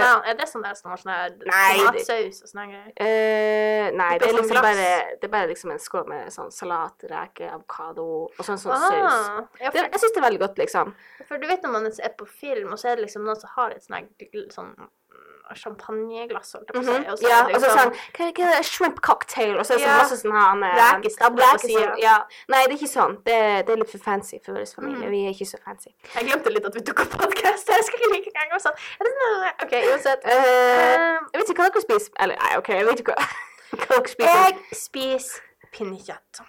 Speaker 2: Nei, er det sånn der som har sånn her
Speaker 1: Nei, det-
Speaker 2: tomatsaus og sånn sånne greier?
Speaker 1: Eh, nei, det
Speaker 2: Oppi
Speaker 1: er
Speaker 2: sånn
Speaker 1: liksom
Speaker 2: glass.
Speaker 1: bare, det er bare liksom en skål med sånn salat, reker, avokado og sånn sånn saus.
Speaker 2: Ah, ja,
Speaker 1: Det,
Speaker 2: for,
Speaker 1: jeg syns det er veldig godt, liksom.
Speaker 2: for du vet når man er på film, og så er det liksom noen som har et sånn her gl- sånn mm, champagneglass, holdt jeg på å si. og så er
Speaker 1: ja,
Speaker 2: det
Speaker 1: og så
Speaker 2: liksom-
Speaker 1: sånn hva, hva er det, Shrimp cocktail, og så er det
Speaker 2: Ja.
Speaker 1: sånn
Speaker 2: sånn.
Speaker 1: masse sånn her han, eh,
Speaker 2: Rekestabler på
Speaker 1: reker som-
Speaker 2: siden.
Speaker 1: Ja. Nei, det er ikke sånn. Det, det er litt for fancy for vår
Speaker 2: Mm.
Speaker 1: familie. Vi er ikke så fancy.
Speaker 2: Jeg glemte litt at vi tok opp podkast. Jeg skulle like engang og sånn er det sånn- OK, uansett.
Speaker 1: Eh,
Speaker 2: Eh,
Speaker 1: jeg vet ikke hva dere spiser. Eller nei, OK, jeg vet ikke hva, hva dere spiser.
Speaker 2: jeg spiser pinnekjøtt.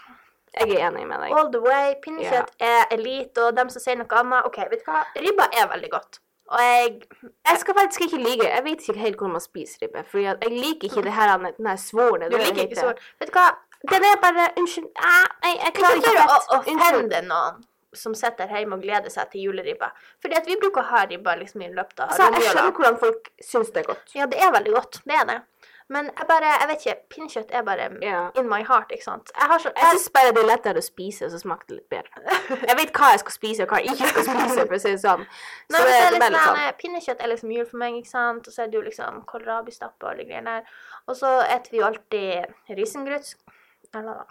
Speaker 1: Jeg er enig med deg.
Speaker 2: All the way. Pinnekjøtt er elite, og dem som sier noe annet OK, vet du hva? Ribba er veldig godt. Og jeg
Speaker 1: Jeg skal faktisk ikke lyge. Jeg vet ikke helt hvor man spiser ribbe. For jeg liker ikke det her, den her svoren.
Speaker 2: Du liker ikke sånn Vet du hva?
Speaker 1: Den er bare Unnskyld. ah, nei, jeg klarer
Speaker 2: Ikke
Speaker 1: ikke
Speaker 2: for å
Speaker 1: fett. Unnskyld.
Speaker 2: offende noen, som sitter her hjemme og gleder seg til juleribba. Fordi at vi bruker å ha ribba liksom i løpet av
Speaker 1: Altså, jeg
Speaker 2: romjula.
Speaker 1: skjønner hvordan folk syns det er godt.
Speaker 2: Ja, det er veldig godt. Det er det. Men jeg bare, jeg vet ikke, pinnekjøtt er bare
Speaker 1: Ja.
Speaker 2: in my heart, ikke sant. Jeg har så,
Speaker 1: Jeg
Speaker 2: jeg,
Speaker 1: syns bare det er lettere å spise, og så smaker det litt bedre. Jeg vet hva jeg skal spise, og hva jeg ikke skal spise, for å si det sånn. Så
Speaker 2: Nei, men
Speaker 1: det,
Speaker 2: så er
Speaker 1: det
Speaker 2: det
Speaker 1: er litt
Speaker 2: liksom,
Speaker 1: sånn.
Speaker 2: eh, Pinnekjøtt er liksom jul for meg, ikke sant. Og så er det jo liksom kålrabistappe og alle greiene der. Og så spiser vi jo alltid risengryns... Eller da.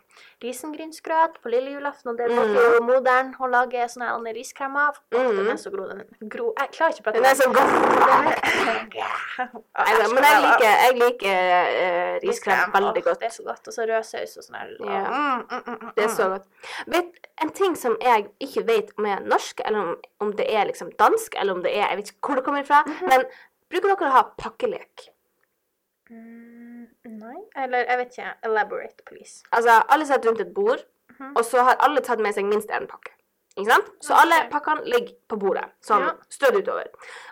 Speaker 2: Risengrynsgrøt på lille julaften, og det
Speaker 1: Mm.
Speaker 2: måtte jo moderen å lage sånne her andre riskremer av. Åh, Den
Speaker 1: Mm.
Speaker 2: er så gro, den gro Jeg klarer ikke å prate
Speaker 1: Den er
Speaker 2: den.
Speaker 1: sånn grrr. Nei, da, men jeg liker, jeg liker eh, riskrem veldig
Speaker 2: Åh, Det
Speaker 1: godt.
Speaker 2: er så godt. Og så rød saus og sånn her.
Speaker 1: Ja.
Speaker 2: Mm, mm, mm, mm,
Speaker 1: Det er
Speaker 2: mm.
Speaker 1: så godt. Vet, en ting som jeg ikke vet om er norsk, eller om, om det er liksom dansk, eller om det er Jeg vet ikke hvor det kommer fra,
Speaker 2: Mhm.
Speaker 1: men bruker dere å ha pakkelek?
Speaker 2: Mm, Nei, eller jeg vet ikke. Elaborate, please.
Speaker 1: Altså, alle setter rundt et bord,
Speaker 2: Mhm.
Speaker 1: og så har alle tatt med seg minst én pakke. Ikke sant? Så
Speaker 2: Ok.
Speaker 1: alle pakkene ligger på bordet, sånn
Speaker 2: Ja.
Speaker 1: strødd utover.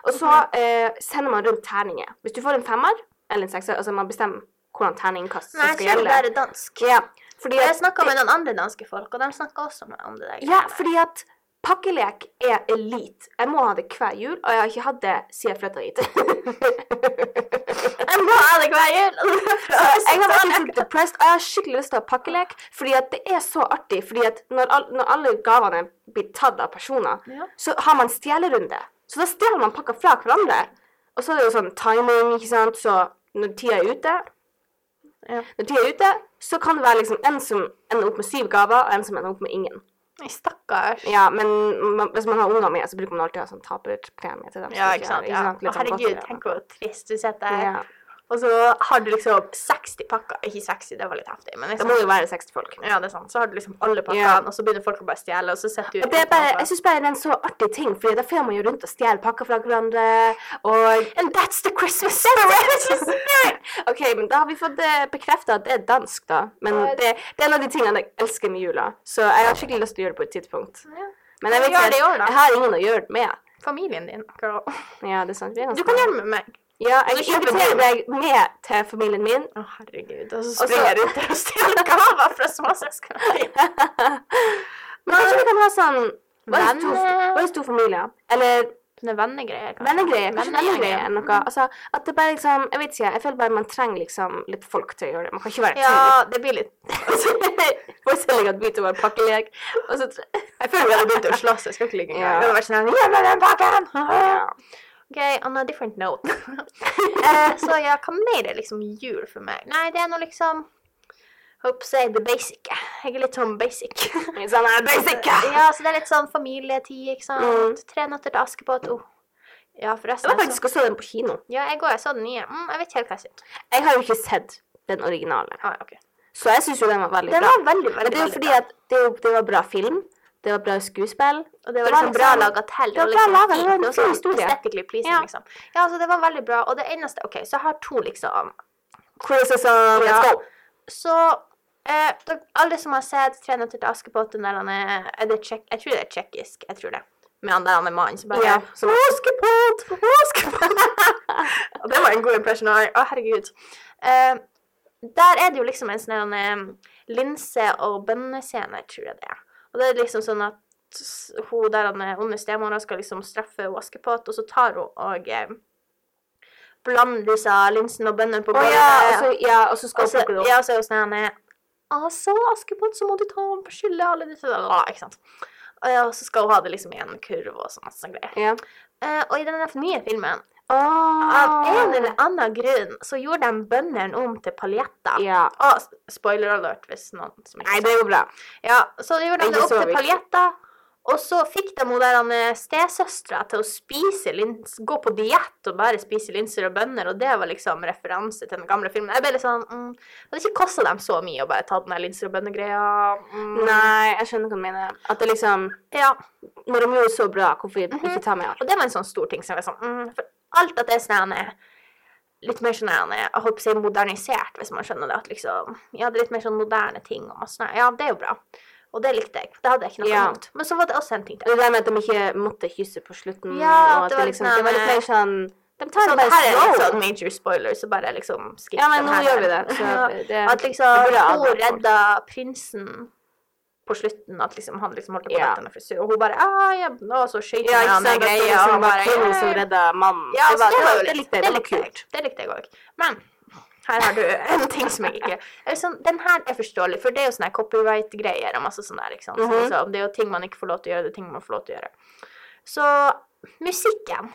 Speaker 1: Og så eh, sender man rundt terninger. Hvis du får en femmer eller en sekser, altså man bestemmer hvordan terningkast som
Speaker 2: Nei, jeg
Speaker 1: skal
Speaker 2: tror det
Speaker 1: gjelde.
Speaker 2: der er dansk.
Speaker 1: Ja, fordi
Speaker 2: Jeg
Speaker 1: at,
Speaker 2: snakka med noen andre danske folk, og de snakka også med om det der.
Speaker 1: ja, fordi at pakkelek er elite. Jeg må ha det hver jul, og jeg har ikke hatt det siden jeg flytta hit.
Speaker 2: Jeg må ha det hver jul!
Speaker 1: Så jeg har vært litt depressed, og jeg har skikkelig lyst til å ha pakkelek. Fordi at det er så artig. Fordi at når, all, når alle gavene blir tatt av personer,
Speaker 2: Ja.
Speaker 1: så har man stjelerunde. Så da stjeler man pakker fra hverandre. Og så er det jo sånn timing, ikke sant. Så når tida er ute,
Speaker 2: Ja.
Speaker 1: når tida er ute, så kan det være liksom en som ender opp med syv gaver, og en som ender opp med ingen.
Speaker 2: Nei, Stakkars.
Speaker 1: Ja, men man, hvis man har unger med, så bruker man alltid å ha sånn taperpremie til dem. som
Speaker 2: Ja, ikke sant.
Speaker 1: har-
Speaker 2: Ja. Å,
Speaker 1: Litt sånn
Speaker 2: herregud,
Speaker 1: godteri.
Speaker 2: tenk hvor trist du sitter der.
Speaker 1: Ja.
Speaker 2: Og så har du liksom 60 pakker. Ikke 60, det var litt heftig, men
Speaker 1: Det
Speaker 2: liksom,
Speaker 1: må jo være 60 folk.
Speaker 2: ja, det er sant. Så har du liksom alle pakkene,
Speaker 1: Ja.
Speaker 2: og så begynner folk å bare stjele, og så sitter du
Speaker 1: Og det er bare,
Speaker 2: utenfor.
Speaker 1: jeg synes bare det er en så artig ting, for da får man jo rundt og stjeler pakker fra hverandre, og
Speaker 2: And that's the Christmas
Speaker 1: Ok, men da har vi fått eh, bekreftet at det er dansk, da. Men
Speaker 2: Ja,
Speaker 1: det, det er en av de tingene jeg elsker med jula, så jeg har skikkelig lyst til å gjøre det på et tidspunkt.
Speaker 2: Ja.
Speaker 1: Men jeg vet
Speaker 2: Gjør
Speaker 1: ikke,
Speaker 2: det i år, da.
Speaker 1: jeg har ingen å gjøre det med.
Speaker 2: Familien din, girl.
Speaker 1: Ja, det er sant. vi er
Speaker 2: Du
Speaker 1: ganske
Speaker 2: kan
Speaker 1: mange.
Speaker 2: gjøre det med meg.
Speaker 1: Ja, jeg
Speaker 2: Så kjøper du-
Speaker 1: inviterer deg med til familien min.
Speaker 2: Å, herregud. Og så
Speaker 1: Og så-
Speaker 2: springer jeg rundt der og stjeler gaver fra småsøsknene dine.
Speaker 1: Men kanskje vi kan ha sånn, hva er det stor,
Speaker 2: Venner.
Speaker 1: hva er det stor familie? Eller
Speaker 2: Sånne vennegreier, kanskje.
Speaker 1: Vennegreier. Kanskje
Speaker 2: Vennegreier.
Speaker 1: vennegreier eller noe. Altså, at det bare liksom Jeg vet ikke, jeg føler bare man trenger liksom litt folk til å gjøre det. Man kan ikke være
Speaker 2: Ja, det blir litt
Speaker 1: Forestilling at vi to var pakkelek, og så tre-
Speaker 2: Jeg føler vi hadde begynt å slåss. Jeg skal ikke ligge engang.
Speaker 1: Ja.
Speaker 2: Det hadde vært sånn her, «Gi meg den pakken!»
Speaker 1: ja.
Speaker 2: OK, on a different note. eh, så ja, hva mer er liksom jul for meg? Nei, det er noe liksom Håper jeg the basic. Jeg er litt sånn basic.
Speaker 1: Litt Sånn er basic.
Speaker 2: ja, så det er litt sånn familietid, ikke sant.
Speaker 1: Mm.
Speaker 2: Tre nøtter til Askepott. Oh. Ja,
Speaker 1: Jeg
Speaker 2: forresten.
Speaker 1: var
Speaker 2: jeg
Speaker 1: faktisk og så den på kino.
Speaker 2: så- Ja, jeg går, jeg så den nye. Mm, jeg vet ikke helt hva jeg syns.
Speaker 1: Jeg har jo ikke sett den originale,
Speaker 2: Ah, ok.
Speaker 1: så jeg syns jo den var veldig
Speaker 2: Den
Speaker 1: bra.
Speaker 2: var veldig, veldig,
Speaker 1: Men det er jo
Speaker 2: veldig
Speaker 1: fordi at det, er jo- det var bra film, det var bra skuespill.
Speaker 2: Og det var
Speaker 1: Det
Speaker 2: liksom
Speaker 1: var
Speaker 2: bra
Speaker 1: liksom-
Speaker 2: laga til.
Speaker 1: det var bra laget, det var en fin historie.
Speaker 2: sånn Aesthetically pleasing,
Speaker 1: Ja.
Speaker 2: liksom. Ja, altså, det var veldig bra. Og det eneste OK, så jeg har to, liksom.
Speaker 1: Criticism, let's
Speaker 2: Ja.
Speaker 1: go.
Speaker 2: Så eh, dere- alle som har sett 'Tre nøtter til Askepott', den der han er, er det tjekk, Jeg tror det er tsjekkisk. Jeg tror det. Med han der han er mannen som bare
Speaker 1: Ja, som-
Speaker 2: Askepott! Askepott! Og det var en god impression. av- Å, herregud. Eh, der er det jo liksom en sånn her, um, linse- og bønnescene, tror jeg det er. Og det er liksom sånn at s- hun der han er onde stemora skal liksom straffe hun Askepott, og så tar hun og eh, blander disse linsene og bønnene på
Speaker 1: Å
Speaker 2: gulvet.
Speaker 1: ja, og så, ja, og så skal
Speaker 2: Og
Speaker 1: hun
Speaker 2: så,
Speaker 1: plukke det opp.
Speaker 2: ja, så er hun sånn her, Altså, Askepott, så må du ta ham på skylda, alle disse der, ah, ikke sant. Og ja, og så skal hun ha det liksom i en kurv og sånn masse greier.
Speaker 1: Ja.
Speaker 2: Eh, og i denne nye filmen, av en
Speaker 1: Oh.
Speaker 2: eller annen grunn, så gjorde de bøndene om til paljetter.
Speaker 1: ja.
Speaker 2: Ah, s- spoiler alert, hvis noen som ikke
Speaker 1: Nei, det går bra.
Speaker 2: Ja, så de gjorde de
Speaker 1: Ikke
Speaker 2: det opp
Speaker 1: så
Speaker 2: til
Speaker 1: viktig.
Speaker 2: paljetter. Og så fikk de hun der han, eh, stesøstera til å spise lins, gå på diett og bare spise linser og bønner, og det var liksom referanse til den gamle filmen. Jeg ble litt sånn mm, Det hadde ikke kosta dem så mye å bare ta den der linser og bønner-greia. Mm.
Speaker 1: Nei, jeg skjønner hva du mener. At det liksom
Speaker 2: Ja.
Speaker 1: Når de gjorde det så bra, hvorfor ikke ta med alt?
Speaker 2: Og det var en sånn stor ting som jeg var sånn mm, For alt at det er sånn her, litt mer sånn her, jeg holdt på å si modernisert, hvis man skjønner det, at liksom Ja, det er litt mer sånn moderne ting og masse sånn her. Ja, det er jo bra. Og det likte jeg. Det hadde jeg ikke noe
Speaker 1: Ja.
Speaker 2: imot. Men så var det også en ting til.
Speaker 1: Og det der med at de ikke måtte kysse på slutten,
Speaker 2: Ja,
Speaker 1: og at det, var liksom, det var litt mer sånn De tar
Speaker 2: Så
Speaker 1: det bare
Speaker 2: her er litt
Speaker 1: slow.
Speaker 2: sånn major spoiler, så bare liksom skip
Speaker 1: Ja, men
Speaker 2: den
Speaker 1: nå
Speaker 2: her.
Speaker 1: gjør vi det. Så
Speaker 2: Ja.
Speaker 1: det
Speaker 2: At
Speaker 1: det
Speaker 2: liksom
Speaker 1: burde
Speaker 2: hun
Speaker 1: aldri vært
Speaker 2: redda prinsen på slutten at liksom, han liksom holdt på
Speaker 1: Ja.
Speaker 2: dette med frisyr, og hun bare ah, jeg, Og så skøyt
Speaker 1: Ja, ikke
Speaker 2: han
Speaker 1: sant?
Speaker 2: en
Speaker 1: Det var
Speaker 2: greie, og
Speaker 1: liksom
Speaker 2: han
Speaker 1: bare
Speaker 2: bare
Speaker 1: kvinnen som
Speaker 2: «Yeah».
Speaker 1: redda mannen.
Speaker 2: Ja,
Speaker 1: det,
Speaker 2: så
Speaker 1: var, det, var,
Speaker 2: jo
Speaker 1: det
Speaker 2: litt-
Speaker 1: likte jeg. Det var
Speaker 2: likte jeg.
Speaker 1: kult.
Speaker 2: Det likte jeg òg. Men her har du en ting som jeg ikke eller sånn, Den her er forståelig, for det er jo sånne her copyright-greier og masse sånn der. ikke sant?
Speaker 1: Mhm.
Speaker 2: altså, det er jo ting man ikke får lov til å gjøre, det er ting man får lov til å gjøre. Så musikken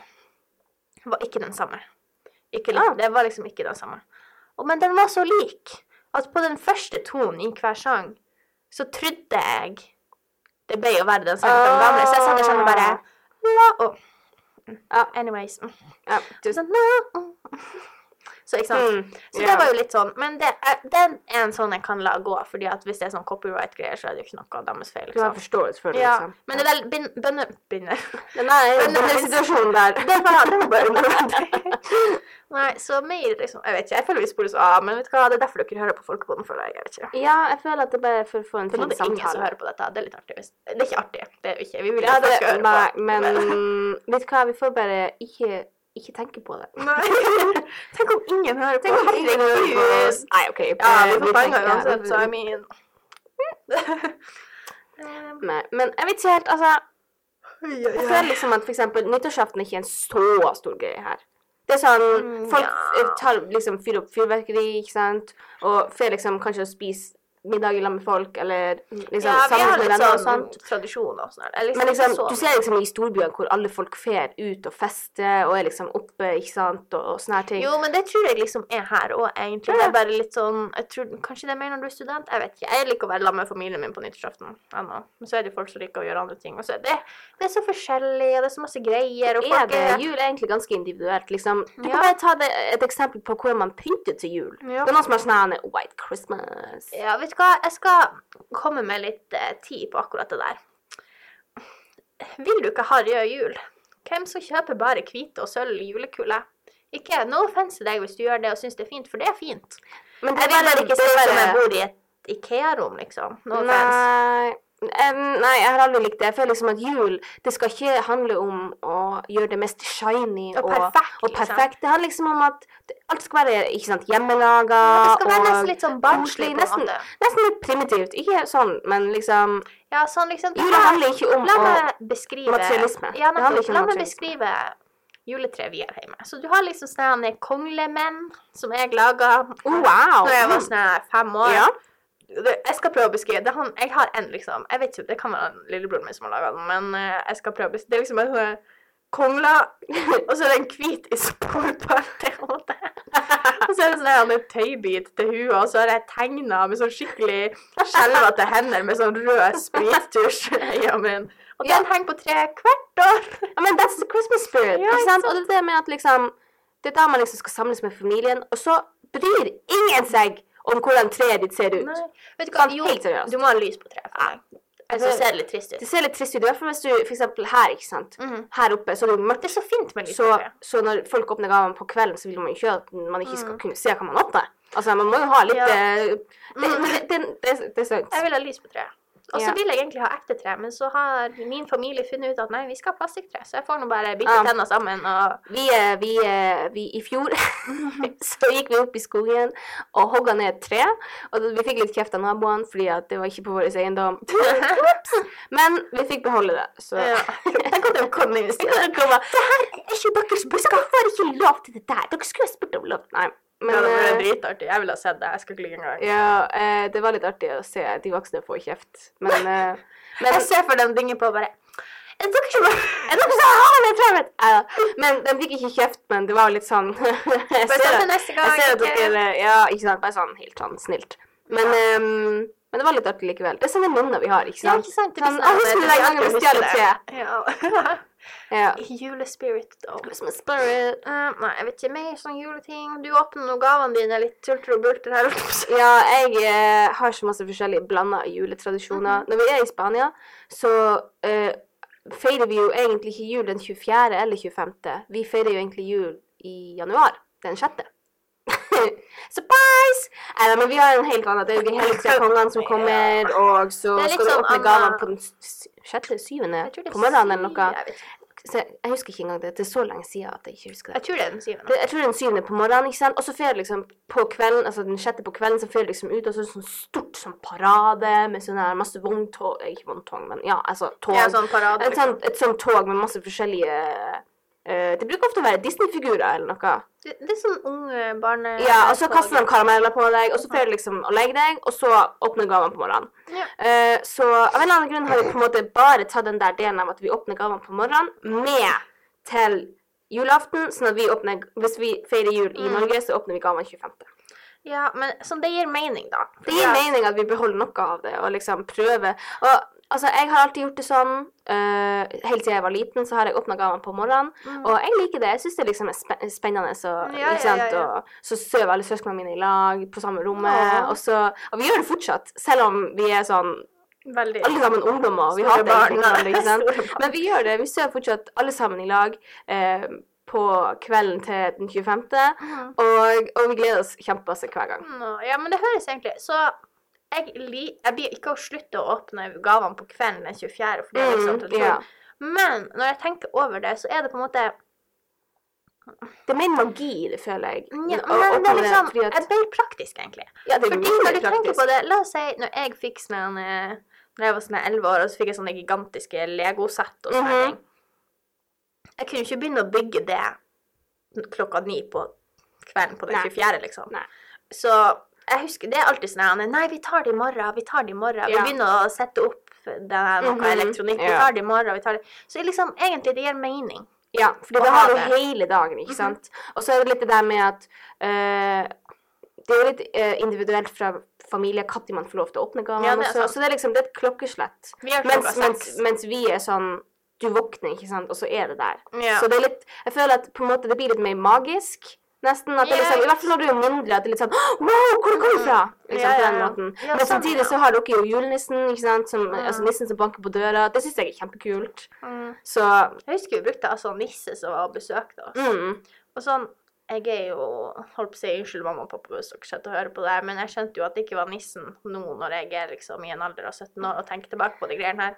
Speaker 2: var ikke den samme. Ikke, li-
Speaker 1: Ah.
Speaker 2: Det var liksom ikke den samme. Og, men den var så lik at på den første tonen i hver sang så trodde jeg det ble å være den sangen fra den gamle, så jeg satt der sånn og bare la, oh.
Speaker 1: Ja.
Speaker 2: Anyways.
Speaker 1: Ja, du,
Speaker 2: Sånn, «Nå». Så ikke sant?
Speaker 1: Mm,
Speaker 2: Så
Speaker 1: ja.
Speaker 2: det var jo litt sånn, men det er, den er en sånn jeg kan la gå, fordi at hvis det er sånn copyright-greier, så er det jo ikke noe av deres feil.
Speaker 1: Du har
Speaker 2: Liksom.
Speaker 1: forståelse for sånn. det,
Speaker 2: Ja,
Speaker 1: liksom.
Speaker 2: men det er vel bønner... Bønner...
Speaker 1: Men
Speaker 2: men-
Speaker 1: den situasjonen der
Speaker 2: Den var, den var bare unødvendig. Nei, så mer liksom Jeg vet ikke, jeg føler vi spores av, men vet du hva, det er derfor dere hører på Folkepodden, føler jeg. jeg vet ikke.
Speaker 1: Ja, jeg føler at det bare er for å få en
Speaker 2: For nå er
Speaker 1: fin
Speaker 2: det ingen som
Speaker 1: samtale.
Speaker 2: hører på dette. Det er litt artig. hvis- Det er ikke artig. Det er jo ikke. Vi vil
Speaker 1: Ja,
Speaker 2: at
Speaker 1: det,
Speaker 2: folk skal høre
Speaker 1: nei,
Speaker 2: på.
Speaker 1: men vet du hva, vi får bare ikke, ikke tenke på det.
Speaker 2: Nei. Tenk om ingen hører på. Herregud.
Speaker 1: Nei, OK.
Speaker 2: Ja,
Speaker 1: eh,
Speaker 2: vi får
Speaker 1: tenker
Speaker 2: penger
Speaker 1: det.
Speaker 2: uansett, så I mean Um,
Speaker 1: Nei, Men jeg vet ikke helt, altså.
Speaker 2: oi, oi,
Speaker 1: Jeg
Speaker 2: oi.
Speaker 1: føler liksom at for eksempel nyttårsaften er ikke en så stor greie her. Det er sånn,
Speaker 2: Mm,
Speaker 1: Folk
Speaker 2: ja.
Speaker 1: eh, tar liksom fyrer opp fyrverkeri, ikke sant, og får liksom kanskje å spise middag i lag med folk, eller
Speaker 2: Mm.
Speaker 1: liksom
Speaker 2: ja, vi
Speaker 1: sammen
Speaker 2: har
Speaker 1: med
Speaker 2: litt
Speaker 1: venner og
Speaker 2: sånn
Speaker 1: sånt.
Speaker 2: tradisjoner og sånn. her. Det er
Speaker 1: Men liksom,
Speaker 2: ikke så-
Speaker 1: du ser liksom i storbyene hvor alle folk fer ut og fester og er liksom oppe, ikke sant, og, og sånne her ting.
Speaker 2: Jo, men det tror jeg liksom er her òg, egentlig. Det er bare litt sånn jeg tror, Kanskje det er mer når du er student? Jeg vet ikke. Jeg liker å være sammen med familien min på nyttårsaften ennå. Men så er det jo folk som liker å gjøre andre ting. Og så er det, det er så forskjellig, og det er så masse greier, og
Speaker 1: Er
Speaker 2: folk
Speaker 1: det,
Speaker 2: er
Speaker 1: jul er egentlig ganske individuelt, liksom. Du kan
Speaker 2: Ja.
Speaker 1: bare ta det, et eksempel på hvordan man pynter til jul.
Speaker 2: Ja.
Speaker 1: Det er noen som har sånn her White Christmas.
Speaker 2: Ja, vet du hva, jeg skal komme med litt eh, tid på akkurat det der. Vil du ikke ha rød jul? Hvem som kjøper bare hvite og sølv julekuler? Ikke no offense til deg hvis du gjør det og syns det er fint, for det er fint.
Speaker 1: Men det
Speaker 2: Jeg vil bare
Speaker 1: er bare- sånn
Speaker 2: ikke
Speaker 1: det
Speaker 2: se
Speaker 1: er
Speaker 2: ut som jeg
Speaker 1: bare-
Speaker 2: bor i et Ikea-rom, liksom. No offense.
Speaker 1: Nei. Em, nei, jeg har aldri likt det. Jeg føler liksom at jul det skal ikke handle om å gjøre det mest shiny
Speaker 2: Og perfekt,
Speaker 1: og
Speaker 2: liksom.
Speaker 1: perfekt. Det handler liksom om at det- alt skal være ikke sant, hjemmelaga
Speaker 2: Det skal være nesten
Speaker 1: og
Speaker 2: litt sånn barnslig,
Speaker 1: koselig,
Speaker 2: på en
Speaker 1: nesten,
Speaker 2: måte.
Speaker 1: nesten litt primitivt. Ikke sånn, men liksom
Speaker 2: Ja, sånn liksom det
Speaker 1: Jula
Speaker 2: her-
Speaker 1: handler ikke om
Speaker 2: La
Speaker 1: å
Speaker 2: meg beskrive
Speaker 1: materialisme.
Speaker 2: Ja,
Speaker 1: Det
Speaker 2: nettopp.
Speaker 1: handler ikke om
Speaker 2: La meg
Speaker 1: materialisme.
Speaker 2: beskrive juletreet vi har hjemme. Så du har liksom sånne konglemenn som jeg laga
Speaker 1: oh, Wow!
Speaker 2: Når jeg var sånn her fem år.
Speaker 1: Ja.
Speaker 2: Det, jeg skal prøve å beskrive det. er Han, jeg har en, liksom. Jeg vet ikke, Det kan være lillebroren min som har laga den, men eh, jeg skal prøve å beskrive Det er liksom en sånn kongla, og så er det en hvit isoporpart. Og så er det sånn her med tøybit til huet, og så har jeg tegna med sånn skikkelig skjelvete hender med sånn rød sprittusj i øya min. Og den
Speaker 1: Ja.
Speaker 2: henger på treet hvert år.
Speaker 1: I mean, that's the Christmas spirit.
Speaker 2: Ja,
Speaker 1: ikke
Speaker 2: ikke
Speaker 1: sant? Og det er det med at liksom Det er da man liksom skal samles med familien, og så bryr ingen seg om hvordan treet ditt ser ut.
Speaker 2: Nei. Vet du hva,
Speaker 1: Sant,
Speaker 2: jo,
Speaker 1: helt seriøst.
Speaker 2: du må ha lys på treet. for meg. Jeg synes det ser litt trist
Speaker 1: Det
Speaker 2: ut.
Speaker 1: ser litt trist ut, i hvert fall hvis du for eksempel her, ikke sant.
Speaker 2: Mhm.
Speaker 1: Her oppe så er det jo mørkt.
Speaker 2: Det er så fint med lys
Speaker 1: Så,
Speaker 2: på treet.
Speaker 1: så når folk åpner gavene på kvelden, så vil man jo ikke at man ikke skal
Speaker 2: Mm.
Speaker 1: kunne se hva man åpner. Altså, man må jo ha litt
Speaker 2: Ja.
Speaker 1: eh, det,
Speaker 2: Mm.
Speaker 1: det, det, det, det er sant.
Speaker 2: Jeg vil ha lys på treet. Og så
Speaker 1: Ja.
Speaker 2: vil jeg egentlig ha ekte tre, men så har min familie funnet ut at nei, vi skal ha plastikktre, så jeg får nå bare bite
Speaker 1: Ah.
Speaker 2: tenna sammen og
Speaker 1: Vi, eh, vi, eh, vi I fjor så gikk vi opp i skogen og hogga ned et tre. Og vi fikk litt kjeft av naboene fordi at det var ikke på vår eiendom. Men vi fikk beholde det, så
Speaker 2: Ja. Tenk at det kom inn i
Speaker 1: Det kan komme. Det her er ikke deres buss. Dere får ikke lov til det der. Dere skulle ha spurt om lov. Nei. Men
Speaker 2: Ja, det ble
Speaker 1: eh,
Speaker 2: dritartig. Jeg ville ha sett det. Jeg skal ikke ligge engang.
Speaker 1: ja, eh, det var litt artig å se de voksne få kjeft. Men, eh, men
Speaker 2: Jeg ser for dem dinge på og bare Er det dere som
Speaker 1: Er det dere som har det treet mitt? Ja, Men de fikk ikke kjeft, men det var litt sånn Jeg
Speaker 2: Bare
Speaker 1: ser
Speaker 2: sett
Speaker 1: at-
Speaker 2: det neste gang.
Speaker 1: jeg ser at
Speaker 2: ikke?
Speaker 1: dere Ja, ikke sant. Bare sånn helt sånn snilt. Men, ehm, men det var litt artig likevel. Det er sånne minner vi har, ikke
Speaker 2: Ja,
Speaker 1: sant?
Speaker 2: ikke sant? Det
Speaker 1: Sånn,
Speaker 2: blir
Speaker 1: «Å, husker du
Speaker 2: det
Speaker 1: den
Speaker 2: blir
Speaker 1: gangen vi
Speaker 2: alltid
Speaker 1: stjal
Speaker 2: husker
Speaker 1: et
Speaker 2: det.
Speaker 1: Ja.
Speaker 2: Ja. Julespirit, though.
Speaker 1: Christmas spirit.
Speaker 2: Eh, nei, jeg vet ikke. Mer sånn juleting. Du åpner nå gavene dine litt tulter og bulter her.
Speaker 1: Ja, jeg eh, har så masse forskjellige blanda
Speaker 2: Mhm.
Speaker 1: juletradisjoner. Når vi er i Spania, så eh, feirer vi jo egentlig ikke jul den 24. eller 25. Vi feirer jo egentlig jul i januar. Den 6. Surprise! Nei da, men vi har en helt annen. Det er jo de hele tre kongene som kommer, og så
Speaker 2: Det er litt
Speaker 1: skal du
Speaker 2: sånn
Speaker 1: åpne
Speaker 2: Anna-
Speaker 1: gavene på den 6. 7.
Speaker 2: Jeg tror det er
Speaker 1: på morgenen eller
Speaker 2: syv,
Speaker 1: noe.
Speaker 2: jeg vet ikke.
Speaker 1: så Jeg husker ikke engang det. Det er så lenge siden at jeg ikke husker det.
Speaker 2: Jeg tror det er den syvende.
Speaker 1: det jeg tror det er den syvende på morgenen, ikke sant? og så får jeg liksom på kvelden, altså den sjette på kvelden, så får jeg liksom ut, og så er det sånn stort sånn parade med sånn her masse vogntog eh, Ikke vogntog, men ja, altså tog.
Speaker 2: Ja, sånn parade.
Speaker 1: et, sånt, et sånt tog med masse forskjellige eh, Det bruker ofte å være Disney-figurer eller noe.
Speaker 2: Det, det er sånn unge barne...
Speaker 1: Ja, og så kaster de karameller på deg, og så får du liksom å legge deg, og så åpner gavene på morgenen.
Speaker 2: Ja.
Speaker 1: Eh, så av en eller annen grunn har vi på en måte bare tatt den der delen av at vi åpner gavene på morgenen, med til julaften, sånn at vi åpner Hvis vi feirer jul i
Speaker 2: Mm.
Speaker 1: Norge, så åpner vi gavene 25.
Speaker 2: ja, men sånn, det gir mening, da.
Speaker 1: Det gir mening at vi beholder noe av det, og liksom prøver. Og altså, jeg har alltid gjort det sånn. eh, helt siden jeg var liten, så har jeg åpna gavene på morgenen.
Speaker 2: Mm.
Speaker 1: Og jeg liker det. Jeg syns det liksom er spe spennende. Så,
Speaker 2: Ja, ja,
Speaker 1: ikke sant?
Speaker 2: ja, ja.
Speaker 1: Og så sover alle søsknene mine i lag på samme rommet.
Speaker 2: Ja.
Speaker 1: Og, så, og vi gjør det fortsatt, selv om vi er sånn
Speaker 2: Veldig.
Speaker 1: alle sammen ungdommer. og Vi
Speaker 2: Store
Speaker 1: hater
Speaker 2: barn.
Speaker 1: egentlig hverandre, ikke sant?
Speaker 2: Store barn.
Speaker 1: Men vi gjør det. Vi sover fortsatt alle sammen i lag eh, på kvelden til den 25.
Speaker 2: Mhm.
Speaker 1: Og, og vi gleder oss kjempemasse hver gang.
Speaker 2: Nå, Mm, ja, men det høres egentlig Så jeg, li, jeg blir ikke å slutte å åpne gavene på kvelden den 24. For det er liksom
Speaker 1: Mm,
Speaker 2: tradisjon.
Speaker 1: ja.
Speaker 2: Men når jeg tenker over det, så er det på en måte
Speaker 1: Det er mer magi i det, føler jeg.
Speaker 2: ja,
Speaker 1: Å- å
Speaker 2: men det er
Speaker 1: åpne
Speaker 2: liksom,
Speaker 1: fordi at-
Speaker 2: Jeg ble praktisk, egentlig.
Speaker 1: ja, det er
Speaker 2: Fordi
Speaker 1: mindre
Speaker 2: når du tenker
Speaker 1: praktisk.
Speaker 2: på det, la oss si når jeg fikk sånn eh, Når jeg var sånn 11 år, og så fikk jeg sånne gigantiske Lego-sett og sånne
Speaker 1: Mhm.
Speaker 2: ting. Jeg kunne ikke begynne å bygge det klokka ni på kvelden på den
Speaker 1: Nei.
Speaker 2: 24., liksom.
Speaker 1: Nei.
Speaker 2: Så jeg husker det er alltid sånn her, Nei, vi tar det i morgen, vi tar det i morgen.
Speaker 1: Ja.
Speaker 2: Vi begynner å sette opp det der, noe
Speaker 1: Mhm,
Speaker 2: elektronikk. Vi
Speaker 1: ja.
Speaker 2: tar det i morgen, vi tar det Så liksom, egentlig, det gir mening.
Speaker 1: Ja, fordi
Speaker 2: Å
Speaker 1: da
Speaker 2: ha
Speaker 1: har du
Speaker 2: det. Mhm.
Speaker 1: hele dagen, ikke sant. Og så er det litt det der med at eh, Det er jo litt eh, individuelt fra familie når man får lov til å åpne gavene.
Speaker 2: Ja, det er
Speaker 1: og så,
Speaker 2: sant.
Speaker 1: så det er liksom det er et klokkeslett.
Speaker 2: Vi gjør klokka
Speaker 1: Mens, mens,
Speaker 2: seks.
Speaker 1: mens vi er sånn Du våkner, ikke sant, og så er det der.
Speaker 2: Ja.
Speaker 1: Så det er litt Jeg føler at på en måte det blir litt mer magisk. Nesten, at det
Speaker 2: Ja,
Speaker 1: er liksom, I
Speaker 2: ikke
Speaker 1: hvert fall når du er mindre, at det er litt sånn «Åh, Wow, hvor kom du fra? Liksom,
Speaker 2: Ja,
Speaker 1: på
Speaker 2: ja,
Speaker 1: den
Speaker 2: ja.
Speaker 1: måten.
Speaker 2: Ja,
Speaker 1: Men
Speaker 2: sånn,
Speaker 1: samtidig
Speaker 2: ja.
Speaker 1: så har dere jo julenissen, ikke sant, som,
Speaker 2: Mm.
Speaker 1: altså nissen som banker på døra. Det syns jeg er kjempekult.
Speaker 2: Mm.
Speaker 1: Så
Speaker 2: Jeg husker vi brukte altså nisse som var og besøkte oss.
Speaker 1: mm.
Speaker 2: Og sånn, jeg er jo Holdt på å si unnskyld mamma og pappa hvis dere sitter og hører på det, her, men jeg skjønte jo at det ikke var nissen nå når jeg er liksom i en alder av 17 år og tenker tilbake på de greiene her.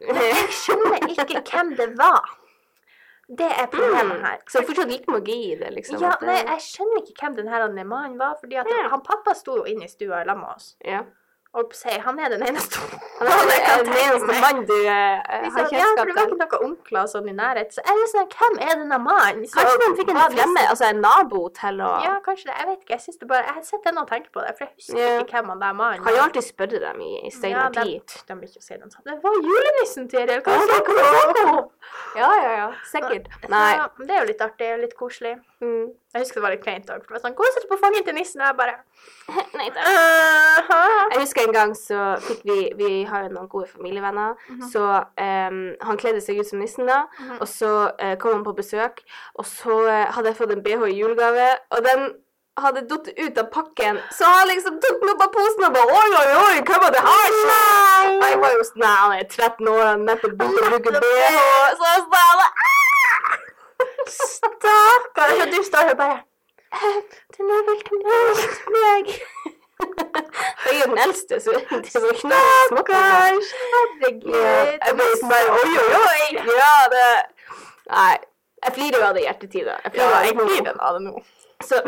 Speaker 2: Jeg skjønner ikke hvem det var. Det er problemet her.
Speaker 1: Mm. Så det er fortsatt litt magi i det, liksom.
Speaker 2: Mm. Ja,
Speaker 1: at det-
Speaker 2: nei, jeg skjønner ikke hvem den her andre mannen var, fordi at
Speaker 1: Ja.
Speaker 2: han pappa sto jo inne i stua i lag med oss.
Speaker 1: ja.
Speaker 2: Holdt på å si, han er den eneste
Speaker 1: Han er
Speaker 2: jeg
Speaker 1: den
Speaker 2: kan tenke
Speaker 1: eneste
Speaker 2: meg.
Speaker 1: mannen du eh, har
Speaker 2: Liksom, ja, for det
Speaker 1: kjennskap
Speaker 2: var ikke
Speaker 1: til.
Speaker 2: noen onkler sånn i nærhet. Så jeg er sånn, hvem er denne mannen? som
Speaker 1: Kanskje de fikk en
Speaker 2: var nissen?
Speaker 1: fremme, altså en nabo til å
Speaker 2: Ja, kanskje det. Jeg vet ikke. Jeg synes det bare, jeg sitter ennå og tenker på det, for jeg husker
Speaker 1: Ja.
Speaker 2: ikke hvem han der mannen
Speaker 1: Kan jo
Speaker 2: var.
Speaker 1: alltid spørre dem i, i
Speaker 2: Ja,
Speaker 1: steinere
Speaker 2: de,
Speaker 1: tid.
Speaker 2: de vil ikke si den sånn. Det var julenissen, Tiril! Hva
Speaker 1: Ja, det
Speaker 2: snakker
Speaker 1: kan
Speaker 2: du
Speaker 1: jeg
Speaker 2: om?
Speaker 1: Ja, ja, ja. Sikkert. Nei.
Speaker 2: Ja, men det er jo litt artig og litt koselig.
Speaker 1: Mm.
Speaker 2: Jeg husker det var litt kleint òg, for det var sånn Kos dere på fanget til nissen, og jeg bare
Speaker 1: Nei takk.
Speaker 2: «Aha».
Speaker 1: Jeg husker en gang så fikk vi Vi har jo noen gode familievenner. Så em, han kledde seg ut som nissen, da.
Speaker 2: Mhm.
Speaker 1: Og så eh, kom han på besøk, og så eh, hadde jeg fått en BH i julegave, og den hadde datt ut av pakken. Så han liksom tok den opp av posen og bare Oi, oi, oi, hva var det her?
Speaker 2: Nei!
Speaker 1: Og Jeg var jo sånn Nei, han er 13 år, han har nettopp begynt å bruke
Speaker 2: Nettopp.
Speaker 1: BH. Så jeg sa
Speaker 2: Stakkar! Og du står her bare Den er vel til meg.
Speaker 1: meg. Jeg er jo den eldste, så det var ikke noe smått. liksom.
Speaker 2: Stakkars! Herregud.
Speaker 1: Ja, jeg ble sånn der, oi, oi, oi! Ja, det Nei. Jeg flirer jo av det i hjertetid, da. Jeg
Speaker 2: Ja,
Speaker 1: flirer av det
Speaker 2: jeg
Speaker 1: nå.
Speaker 2: blir den av det nå.
Speaker 1: Så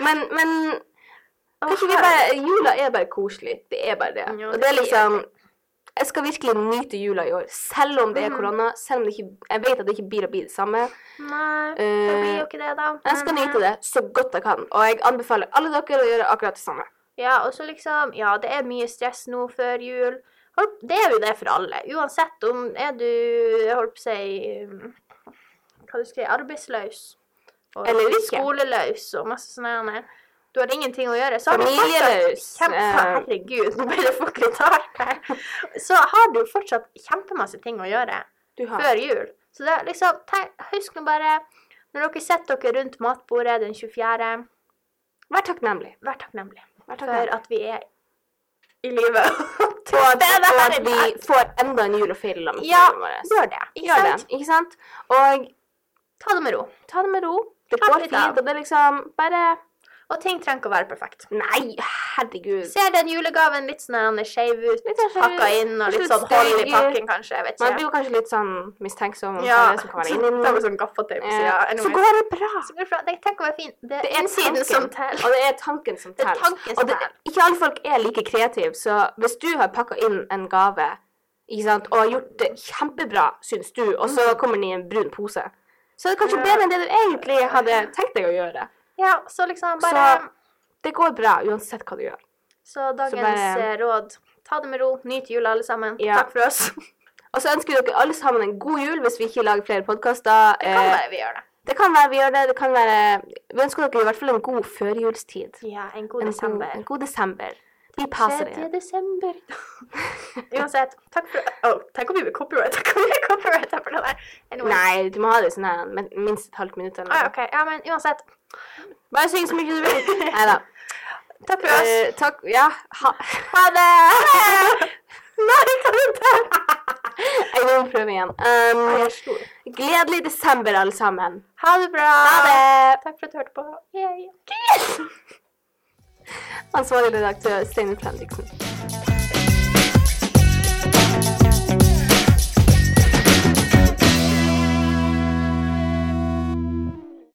Speaker 1: Men, men kanskje vi bare Jula er bare koselig. Det er bare det.
Speaker 2: Ja,
Speaker 1: Og
Speaker 2: det
Speaker 1: det er
Speaker 2: er
Speaker 1: liksom Jeg skal virkelig nyte jula i år, selv om det er
Speaker 2: Mhm.
Speaker 1: korona. Selv om det ikke, jeg vet at det ikke blir å bli det samme.
Speaker 2: Nei, det
Speaker 1: Eh,
Speaker 2: blir jo ikke det, da.
Speaker 1: Jeg skal nyte det så godt jeg kan, og jeg anbefaler alle dere å gjøre akkurat det samme.
Speaker 2: Ja, og så liksom Ja, det er mye stress nå før jul. Hold- Det er jo det for alle. Uansett om er du Jeg holdt på å si um, Hva du skriver Arbeidsløs. Og
Speaker 1: Eller ikke.
Speaker 2: Skoleløs og masse sånne her. Du har ingenting å gjøre. Så har du
Speaker 1: Familieløs,
Speaker 2: fortsatt kjempe...
Speaker 1: eh.
Speaker 2: Herregud, nå ble det fort litt hardt her. Så har du fortsatt kjempemasse ting å gjøre
Speaker 1: Du har
Speaker 2: før jul. Så det er liksom tenk, Husk nå bare Når dere sitter dere rundt matbordet den 24.,
Speaker 1: Vær takknemlig.
Speaker 2: vær takknemlig
Speaker 1: Vær takknemlig.
Speaker 2: for at vi er i live.
Speaker 1: Og at, og at
Speaker 2: vi
Speaker 1: vi får enda en jul å feire sammen med
Speaker 2: Ja,
Speaker 1: familien vår.
Speaker 2: gjør det. Ikke
Speaker 1: Gjør det,
Speaker 2: sant?
Speaker 1: ikke sant? Og
Speaker 2: Ta det med ro.
Speaker 1: ta det med ro. Det
Speaker 2: Slapp
Speaker 1: går
Speaker 2: litt
Speaker 1: fint,
Speaker 2: av.
Speaker 1: og det er liksom bare
Speaker 2: Og ting trenger ikke å være perfekt.
Speaker 1: Nei, herregud.
Speaker 2: Ser den julegaven litt sånn skeiv ut,
Speaker 1: Mm. Litt sånn skeiv
Speaker 2: pakka
Speaker 1: ut,
Speaker 2: inn og
Speaker 1: litt
Speaker 2: litt
Speaker 1: sånn
Speaker 2: sånn hold i
Speaker 1: støyig.
Speaker 2: pakken, kanskje. Jeg vet
Speaker 1: Man blir
Speaker 2: ikke.
Speaker 1: jo kanskje litt sånn mistenksom om
Speaker 2: Ja.
Speaker 1: hva det er som kommer inn i
Speaker 2: Det er
Speaker 1: den.
Speaker 2: sånn gaffateip på
Speaker 1: Eh,
Speaker 2: sida.
Speaker 1: Så går det bra.
Speaker 2: Tenk å være fin. Det er
Speaker 1: Det er
Speaker 2: innsiden
Speaker 1: tanken.
Speaker 2: som teller.
Speaker 1: Og det er tanken som
Speaker 2: Det er
Speaker 1: teller.
Speaker 2: tanken
Speaker 1: Og
Speaker 2: som
Speaker 1: det,
Speaker 2: teller.
Speaker 1: ikke alle folk er like kreative, så hvis du har pakka inn en gave ikke sant, og har gjort det kjempebra, syns du, og så kommer den i en brun pose, så er det kanskje
Speaker 2: Mm. Ja.
Speaker 1: bedre enn det du egentlig hadde tenkt deg å gjøre.
Speaker 2: Ja, så liksom bare
Speaker 1: Så- Det går bra uansett hva du gjør.
Speaker 2: Så dagens
Speaker 1: bare-
Speaker 2: eh, råd ta det med ro, nyt jula alle sammen.
Speaker 1: Ja.
Speaker 2: Takk for oss.
Speaker 1: Og så ønsker vi dere alle sammen en god jul hvis vi ikke lager flere podkaster.
Speaker 2: Det kan være vi gjør det.
Speaker 1: det kan være vi gjør det. det kan være, vi ønsker dere i hvert fall en god førjulstid.
Speaker 2: Ja, en god
Speaker 1: En god,
Speaker 2: desember.
Speaker 1: en god desember. Be
Speaker 2: 3.
Speaker 1: positive.
Speaker 2: desember. Uansett, takk for Å, Tenk om vi blir copyrighta copyrighta for det der. Anyway.
Speaker 1: Nei, du må ha det sånn her men- minst et halvt minutt. Eller
Speaker 2: Ah,
Speaker 1: noe.
Speaker 2: ok, ja, men uansett.
Speaker 1: Bare syng så mye du vil. Nei da.
Speaker 2: Takk for oss.
Speaker 1: takk. Ja. Ha, ha det! Nei, kan du ikke? Jeg må prøve igjen.
Speaker 2: Ah,
Speaker 1: Um, gledelig desember, alle sammen.
Speaker 2: ha det bra.
Speaker 1: Ha det!
Speaker 2: Takk for at du hørte på. Yay.
Speaker 1: Ansvarlig redaktør Steinar Fredriksen.